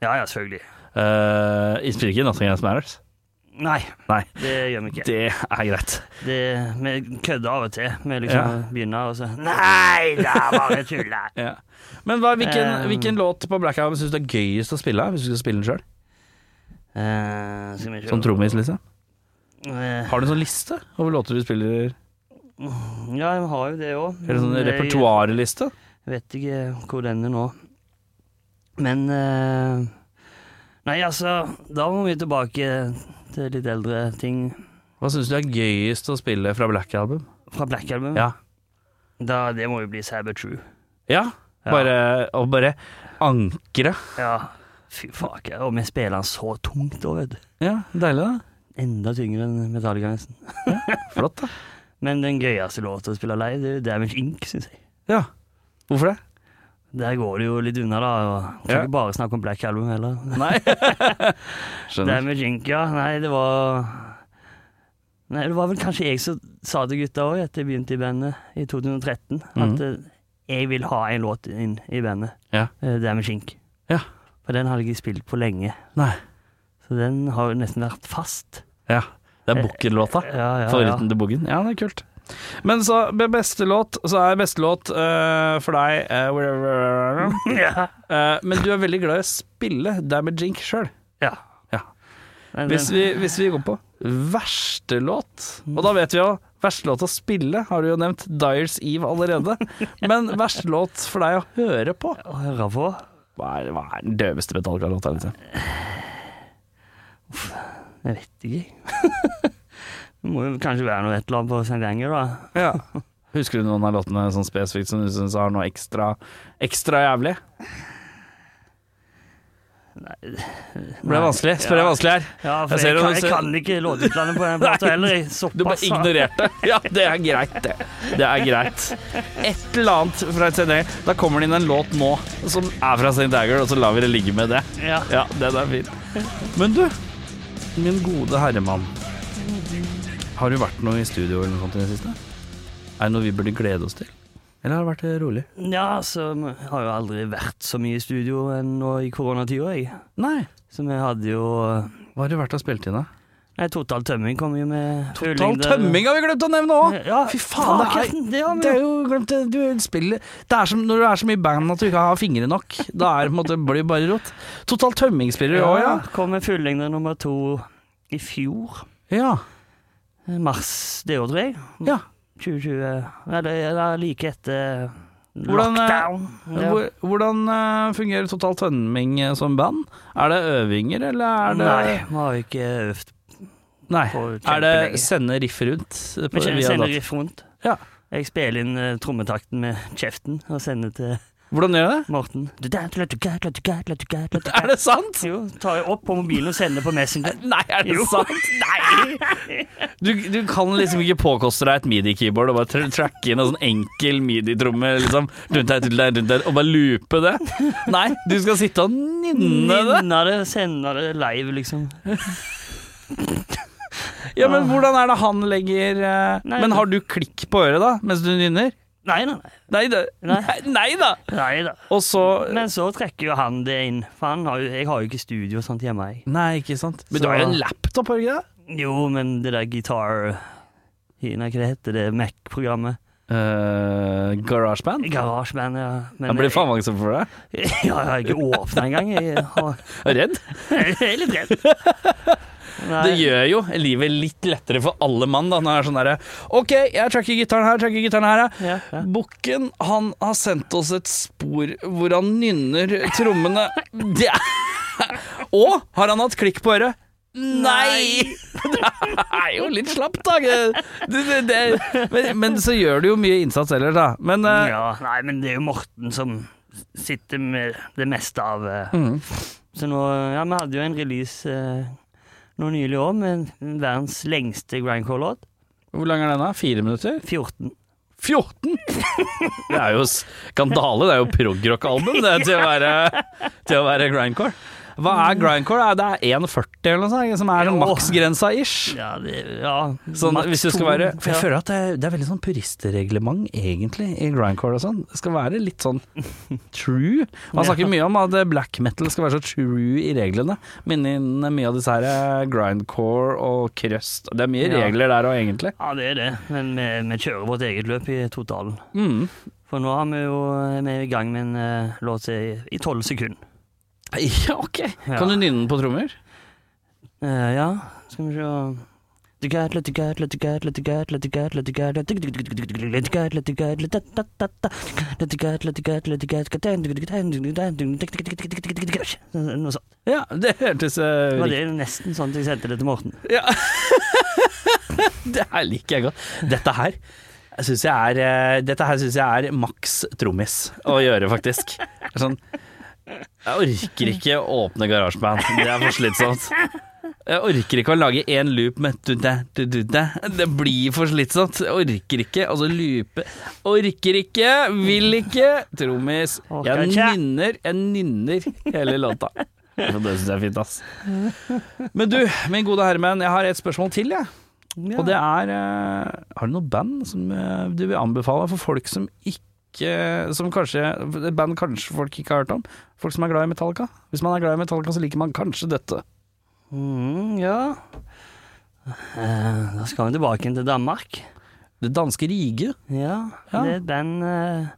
[SPEAKER 2] Ja, ja, selvfølgelig.
[SPEAKER 1] Uh, spiller ikke Nothing Else Matters.
[SPEAKER 2] Nei,
[SPEAKER 1] Nei.
[SPEAKER 2] det gjør vi ikke.
[SPEAKER 1] Det er greit.
[SPEAKER 2] Det, vi kødder av og til. Vi
[SPEAKER 1] Ja.
[SPEAKER 2] liksom begynner, og så Nei, det er bare tull. det."
[SPEAKER 1] Ja. Men hva, hvilken,
[SPEAKER 2] Eh,
[SPEAKER 1] hvilken låt på Black Album syns du er gøyest å spille? Hvis du skal spille den sjøl?
[SPEAKER 2] Eh, skal vi se
[SPEAKER 1] Som trommis, liksom?
[SPEAKER 2] Eh,
[SPEAKER 1] Har du en sånn liste over låter du spiller?
[SPEAKER 2] Ja, vi har jo det òg.
[SPEAKER 1] Eller sånn repertoarliste?
[SPEAKER 2] Jeg vet ikke hvor den er nå. Men eh, Nei, altså, da må vi tilbake til litt eldre ting
[SPEAKER 1] Hva syns du er gøyest å spille fra Black Album?
[SPEAKER 2] fra Black Album.
[SPEAKER 1] Ja.
[SPEAKER 2] Da, det må jo bli Saber True.
[SPEAKER 1] Ja?
[SPEAKER 2] Ja.
[SPEAKER 1] Bare, og bare ankre?
[SPEAKER 2] Ja. Fy faen, og vi spiller den så tungt òg, vet du.
[SPEAKER 1] Ja, deilig, da.
[SPEAKER 2] Enda tyngre enn Metallica, nesten.
[SPEAKER 1] Flott, da.
[SPEAKER 2] Men den gøyeste låta å spille live, det er jo Damage Inc., syns jeg.
[SPEAKER 1] Ja. Hvorfor det?
[SPEAKER 2] Der går det jo litt unna, da. Og kan
[SPEAKER 1] Ja.
[SPEAKER 2] ikke bare snakke om Black Album heller.
[SPEAKER 1] Nei. Skjønner.
[SPEAKER 2] Damage Inc., ja. Nei, det var Nei, det var vel kanskje jeg som sa til gutta òg etter jeg begynte i bandet i 2013, at eh, jeg vil ha en låt inn i bandet.
[SPEAKER 1] Mhm. Ja.
[SPEAKER 2] Eh, Damage Inc.
[SPEAKER 1] Ja.
[SPEAKER 2] For den hadde jeg ikke spilt på lenge.
[SPEAKER 1] Nei.
[SPEAKER 2] Så den har jo nesten vært fast.
[SPEAKER 1] Ja. Det er Bukken-låta.
[SPEAKER 2] Ja, ja, ja.
[SPEAKER 1] Foruten The Boogen. Ja, det er kult. Men så be- beste låt, så er beste låt eh, for deg eh, whatever-
[SPEAKER 2] ja.
[SPEAKER 1] Eh, Men du er veldig glad i å spille Damage Inc. sjøl.
[SPEAKER 2] ja.
[SPEAKER 1] Ja.
[SPEAKER 2] Men
[SPEAKER 1] Hvis,
[SPEAKER 2] den-
[SPEAKER 1] vi- hvis vi går på verste låt, og da vet vi jo Verste låt å spille har du jo nevnt, Dyers Eve allerede. Men verste låt for deg å høre på?
[SPEAKER 2] Å høre på
[SPEAKER 1] Hva er, hva er den døveste Metallica-låta? Liksom?
[SPEAKER 2] Jeg vet ikke. det må jo kanskje være noe et eller annet på St. Anger, da.
[SPEAKER 1] Ja. Husker du noen av låtene sånn spesifikt som du syns har noe ekstra, ekstra jævlig? Det ble vanskelig. Spør jeg vanskelig her.
[SPEAKER 2] Ja, for
[SPEAKER 1] Jeg
[SPEAKER 2] Altså, jeg,
[SPEAKER 1] ser det, du
[SPEAKER 2] kan, jeg
[SPEAKER 1] ser-
[SPEAKER 2] kan ikke låteutlandet på den plata heller. jeg.
[SPEAKER 1] Du bare
[SPEAKER 2] Såpass. da.
[SPEAKER 1] ignorerte. Ja, det er greit, det. Det er greit. Et eller annet fra et CD. Da kommer det inn en låt nå som er fra St. Dagger, og så lar vi det ligge med det.
[SPEAKER 2] Ja.
[SPEAKER 1] Ja, den er fin. Men du, min gode herremann. Har du vært noe i studio eller noe sånt i det siste? Er det noe vi burde glede oss til? Eller har det vært eh, rolig?
[SPEAKER 2] Ja, altså, vi har jo aldri vært så mye i studio enn nå i koronatida, jeg.
[SPEAKER 1] Nei.
[SPEAKER 2] Så vi hadde jo eh,
[SPEAKER 1] Hva har det vært å spille til, da?
[SPEAKER 2] Nei, Total Tømming kom jo med
[SPEAKER 1] Total tømming har vi glemt å nevne òg!
[SPEAKER 2] Ja,
[SPEAKER 1] Fy faen, det er,
[SPEAKER 2] det har vi
[SPEAKER 1] det er
[SPEAKER 2] jo.
[SPEAKER 1] jo glemt det. Du spiller Det er som når du er så mye i band at du ikke har fingre nok. Da er det på en måte blir det bare rot. Total tømmingsspiller òg, ja.
[SPEAKER 2] Kom med fullengde nummer to i fjor. eh,
[SPEAKER 1] Ja.
[SPEAKER 2] Mars det året, tror jeg.
[SPEAKER 1] ja.
[SPEAKER 2] 2020. Eller, eller like etter
[SPEAKER 1] Hvordan, eh,
[SPEAKER 2] lockdown. Ja.
[SPEAKER 1] Hvor- Hvordan eh, fungerer Total tømming eh, som band? Er det øvinger, eller er det
[SPEAKER 2] Nei, vi har jo ikke øvd.
[SPEAKER 1] Nei.
[SPEAKER 2] På
[SPEAKER 1] Er det
[SPEAKER 2] kjempelenge.
[SPEAKER 1] sende riff rundt? På,
[SPEAKER 2] Vi
[SPEAKER 1] via
[SPEAKER 2] sender
[SPEAKER 1] dat-
[SPEAKER 2] riff rundt.
[SPEAKER 1] Ja.
[SPEAKER 2] Jeg spiller inn eh, trommetakten med kjeften og sender til
[SPEAKER 1] Hvordan gjør det?
[SPEAKER 2] Morten.
[SPEAKER 1] Er det sant?
[SPEAKER 2] Jo, tar jeg opp på mobilen og sender på Messenger.
[SPEAKER 1] Nei, er det
[SPEAKER 2] Jo.
[SPEAKER 1] sant? Nei! Du, du kan liksom ikke påkoste deg et midi-keyboard og bare tra tracke inn en sånn enkel midi-tromme liksom, rundt deg, rundt deg, rundt deg, og bare loope det. Nei, du skal sitte og nynne det.
[SPEAKER 2] Nynner det, sender det live, liksom.
[SPEAKER 1] Ja, Men hvordan er det han legger eh,
[SPEAKER 2] Nei,
[SPEAKER 1] Men har du klikk på øret da, mens du nynner?
[SPEAKER 2] Nei, nei, nei.
[SPEAKER 1] Nei da.
[SPEAKER 2] Nei.
[SPEAKER 1] Nei, nei da.
[SPEAKER 2] nei da.
[SPEAKER 1] Og så
[SPEAKER 2] Men så trekker jo han det inn, for han har jo, jeg har jo ikke studio og sånt hjemme. Jeg.
[SPEAKER 1] Nei, ikke sant. Men
[SPEAKER 2] Så-
[SPEAKER 1] du har jo en laptop, har du ikke det?
[SPEAKER 2] Jo, men det der gitar... Nei, hva det heter det? Mac-programmet?
[SPEAKER 1] Uh, GarageBand?
[SPEAKER 2] GarageBand, ja. Men
[SPEAKER 1] Jeg blir faen meg for det.
[SPEAKER 2] jeg, ja, jeg har ikke åpnet engang. Jeg, har,
[SPEAKER 1] Redd?
[SPEAKER 2] jeg er litt redd. Nei.
[SPEAKER 1] Det gjør jo livet litt lettere for alle mann da, når det er sånn derre OK, jeg tracker gitaren her, tracker gitaren her. ja.
[SPEAKER 2] Ja, ja.
[SPEAKER 1] Bukken, han har sendt oss et spor hvor han nynner trommene. Det er Og har han hatt klikk på øret? Nei! Det er jo litt slapt, da. Det, det, det, men, men så gjør du jo mye innsats ellers, da. Men eh,
[SPEAKER 2] Ja, nei, men det er jo Morten som sitter med det meste av eh,
[SPEAKER 1] Mhm.
[SPEAKER 2] Så nå Ja, vi hadde jo en release eh, nå nylig òg, med verdens lengste grindcore-låt.
[SPEAKER 1] hvor lang er den, da? Fire minutter?
[SPEAKER 2] 14.
[SPEAKER 1] 14! Det er jo skandale. Det er jo progrock-album det, til å være, til å være grindcore. Hva er grindcore? Er Det er 1,40 eller noe sånt, som er sånn
[SPEAKER 2] Jo.
[SPEAKER 1] maksgrensa ish.
[SPEAKER 2] Ja, det Ja.
[SPEAKER 1] Sånn,
[SPEAKER 2] maks
[SPEAKER 1] hvis du skal
[SPEAKER 2] to.
[SPEAKER 1] være For jeg
[SPEAKER 2] ja.
[SPEAKER 1] føler at det er, det er veldig sånn puristreglement, egentlig, i grindcore og sånn. Det skal være litt sånn true. Man snakker mye om at black metal skal være så true i reglene. Minnen mye av disse her eh, grindcore og crust. Det er mye
[SPEAKER 2] Ja.
[SPEAKER 1] regler der òg, egentlig.
[SPEAKER 2] ja, det er det. Men vi, vi kjører vårt eget løp i totalen.
[SPEAKER 1] Mm.
[SPEAKER 2] For nå er vi jo vi er i gang med en eh, låt som er i tolv sekunder.
[SPEAKER 1] Ja, ok. Kan du nynne den på trommer?
[SPEAKER 2] Eh, ja, skal vi se Noe sånt.
[SPEAKER 1] Ja, det hørtes eh,
[SPEAKER 2] Det var
[SPEAKER 1] riktig
[SPEAKER 2] det nesten sånn at jeg sendte det til Morten.
[SPEAKER 1] Ja. det her liker jeg godt. Dette her syns jeg er eh, Dette her synes jeg er maks trommis å gjøre, faktisk. Det er Sånn Jeg orker ikke å åpne garasjeband. Det er for slitsomt. Jeg orker ikke å lage én loop med du-dæ, du-du-dæ. Det blir for slitsomt. Jeg orker ikke. Altså loope Orker ikke, vil ikke. Trommis.
[SPEAKER 2] Orker
[SPEAKER 1] Jeg
[SPEAKER 2] ikke.
[SPEAKER 1] nynner, jeg nynner hele låta. Det syns jeg er fint, ass. Men du, min gode herremenn, jeg har et spørsmål til, jeg. Og det er eh, Har du noe band som eh, du vil anbefale for folk som ikke Som kanskje Et band kanskje folk ikke har hørt om? Folk som er glad i Metallica? Hvis man er glad i Metallica, så liker man kanskje dette.
[SPEAKER 2] Mm, ja. Eh, Da skal vi tilbake igjen til Danmark.
[SPEAKER 1] Det danske Rige.
[SPEAKER 2] Ja,
[SPEAKER 1] Ja.
[SPEAKER 2] det er et band eh,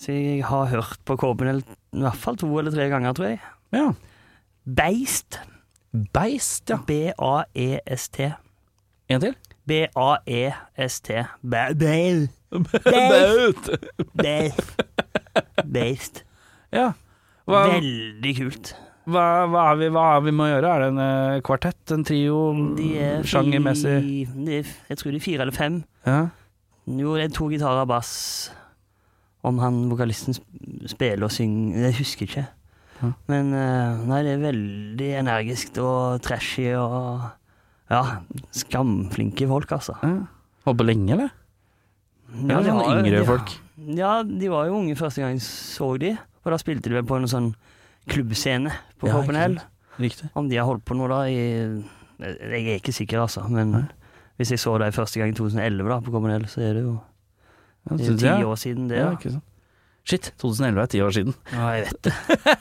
[SPEAKER 2] som jeg har hørt på KBNL i hvert fall to eller tre ganger, tror jeg.
[SPEAKER 1] Ja.
[SPEAKER 2] Beist.
[SPEAKER 1] Beist, ja.
[SPEAKER 2] B-a-e-s-t.
[SPEAKER 1] En til?
[SPEAKER 2] E B-a-e-s-t. Ba- Bail.
[SPEAKER 1] Baut.
[SPEAKER 2] Bail. Beist.
[SPEAKER 1] Ja. Hva,
[SPEAKER 2] Veldig kult.
[SPEAKER 1] hva, hva, har vi, hva har vi med å gjøre? Er det en eh, kvartett? En trio?
[SPEAKER 2] De er
[SPEAKER 1] Mm, Sjangermessig?
[SPEAKER 2] fi- de er f- Jeg tror de er fire eller fem.
[SPEAKER 1] Ja.
[SPEAKER 2] Jo, det er to gitarer og bass. Om han vokalisten sp- spiller og synger Jeg husker ikke.
[SPEAKER 1] Ja.
[SPEAKER 2] Men eh, nei, det er veldig energiskt og trashy og Ja, skamflinke folk, altså.
[SPEAKER 1] ja. Holdt på lenge, eller?
[SPEAKER 2] Ja,
[SPEAKER 1] Eller
[SPEAKER 2] de
[SPEAKER 1] sånn
[SPEAKER 2] har-
[SPEAKER 1] yngre
[SPEAKER 2] de-
[SPEAKER 1] folk?
[SPEAKER 2] Ja, de var jo unge første gang jeg så de Og da spilte de vel på en sånn klubbscene på
[SPEAKER 1] Ja,
[SPEAKER 2] KPNL.
[SPEAKER 1] ikke Riktig.
[SPEAKER 2] Om de har holdt på nå, da i Jeg er ikke sikker, altså. Men
[SPEAKER 1] Nei.
[SPEAKER 2] hvis jeg så dem første gang i 2011 da på KPNL, så er det jo
[SPEAKER 1] Ja,
[SPEAKER 2] det er jo
[SPEAKER 1] synes
[SPEAKER 2] ti
[SPEAKER 1] jeg.
[SPEAKER 2] år siden det.
[SPEAKER 1] Ja,
[SPEAKER 2] da.
[SPEAKER 1] ikke sant. Shit, 2011 er ti år siden.
[SPEAKER 2] Ja, jeg vet det.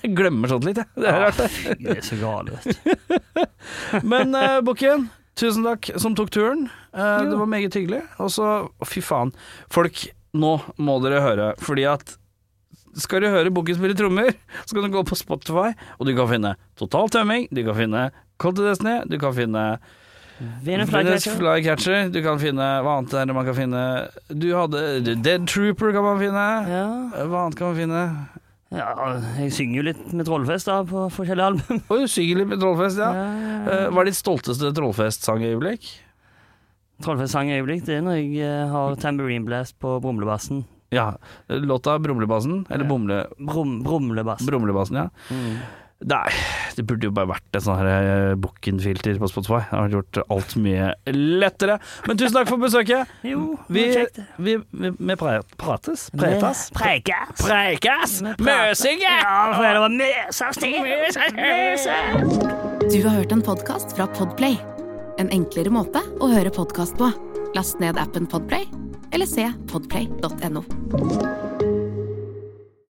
[SPEAKER 1] Jeg glemmer sånt litt, jeg. Det er
[SPEAKER 2] Ja,
[SPEAKER 1] rart,
[SPEAKER 2] fy, det er så galt, vet du.
[SPEAKER 1] det. Men uh, Bukken, tusen takk som tok turen. Eh, det var meget hyggelig. Og så, å, fy faen. Folk, nå må dere høre, fordi at skal du høre Bukken spille trommer, så kan du gå på Spotify, og du kan finne Total tømming, du kan finne Cold to Destiny, du kan finne
[SPEAKER 2] Vinner
[SPEAKER 1] Freddy's
[SPEAKER 2] Flycatcher.
[SPEAKER 1] Flycatcher, du kan finne Hva annet er det man kan finne? Du hadde Dead Trooper kan man finne.
[SPEAKER 2] Ja.
[SPEAKER 1] Hva annet kan man finne?
[SPEAKER 2] ja, jeg synger jo litt med Trollfest da, på forskjellige album.
[SPEAKER 1] Og Usigelig med Trollfest, ja.
[SPEAKER 2] Ja.
[SPEAKER 1] Eh, Hva er ditt stolteste Trollfest-sangøyeblikk?
[SPEAKER 2] Trollfest-sang øyeblikk, det er når jeg eh, har tambourine blast på brumlebassen.
[SPEAKER 1] Ja, låta 'Brumlebassen', eller
[SPEAKER 2] Ja.
[SPEAKER 1] Bumle,
[SPEAKER 2] Brum, brumlebass.
[SPEAKER 1] 'Brumlebassen', ja. Nei, det burde jo bare vært et sånn her, eh, Bukken-filter på Spotify. Det har gjort alt mye lettere. Men tusen takk for besøket.
[SPEAKER 2] Jo,
[SPEAKER 1] Vi,
[SPEAKER 2] det var kjekt.
[SPEAKER 1] vi, vi, vi pre prates. Pretas.
[SPEAKER 2] Prekas.
[SPEAKER 1] Preikas!
[SPEAKER 2] Ja, for det var møsastil.
[SPEAKER 1] Møsing!
[SPEAKER 3] Du har hørt en podkast fra Podplay. En enklere måte å høre podkast på. Last ned appen Podplay, eller se podplay.no.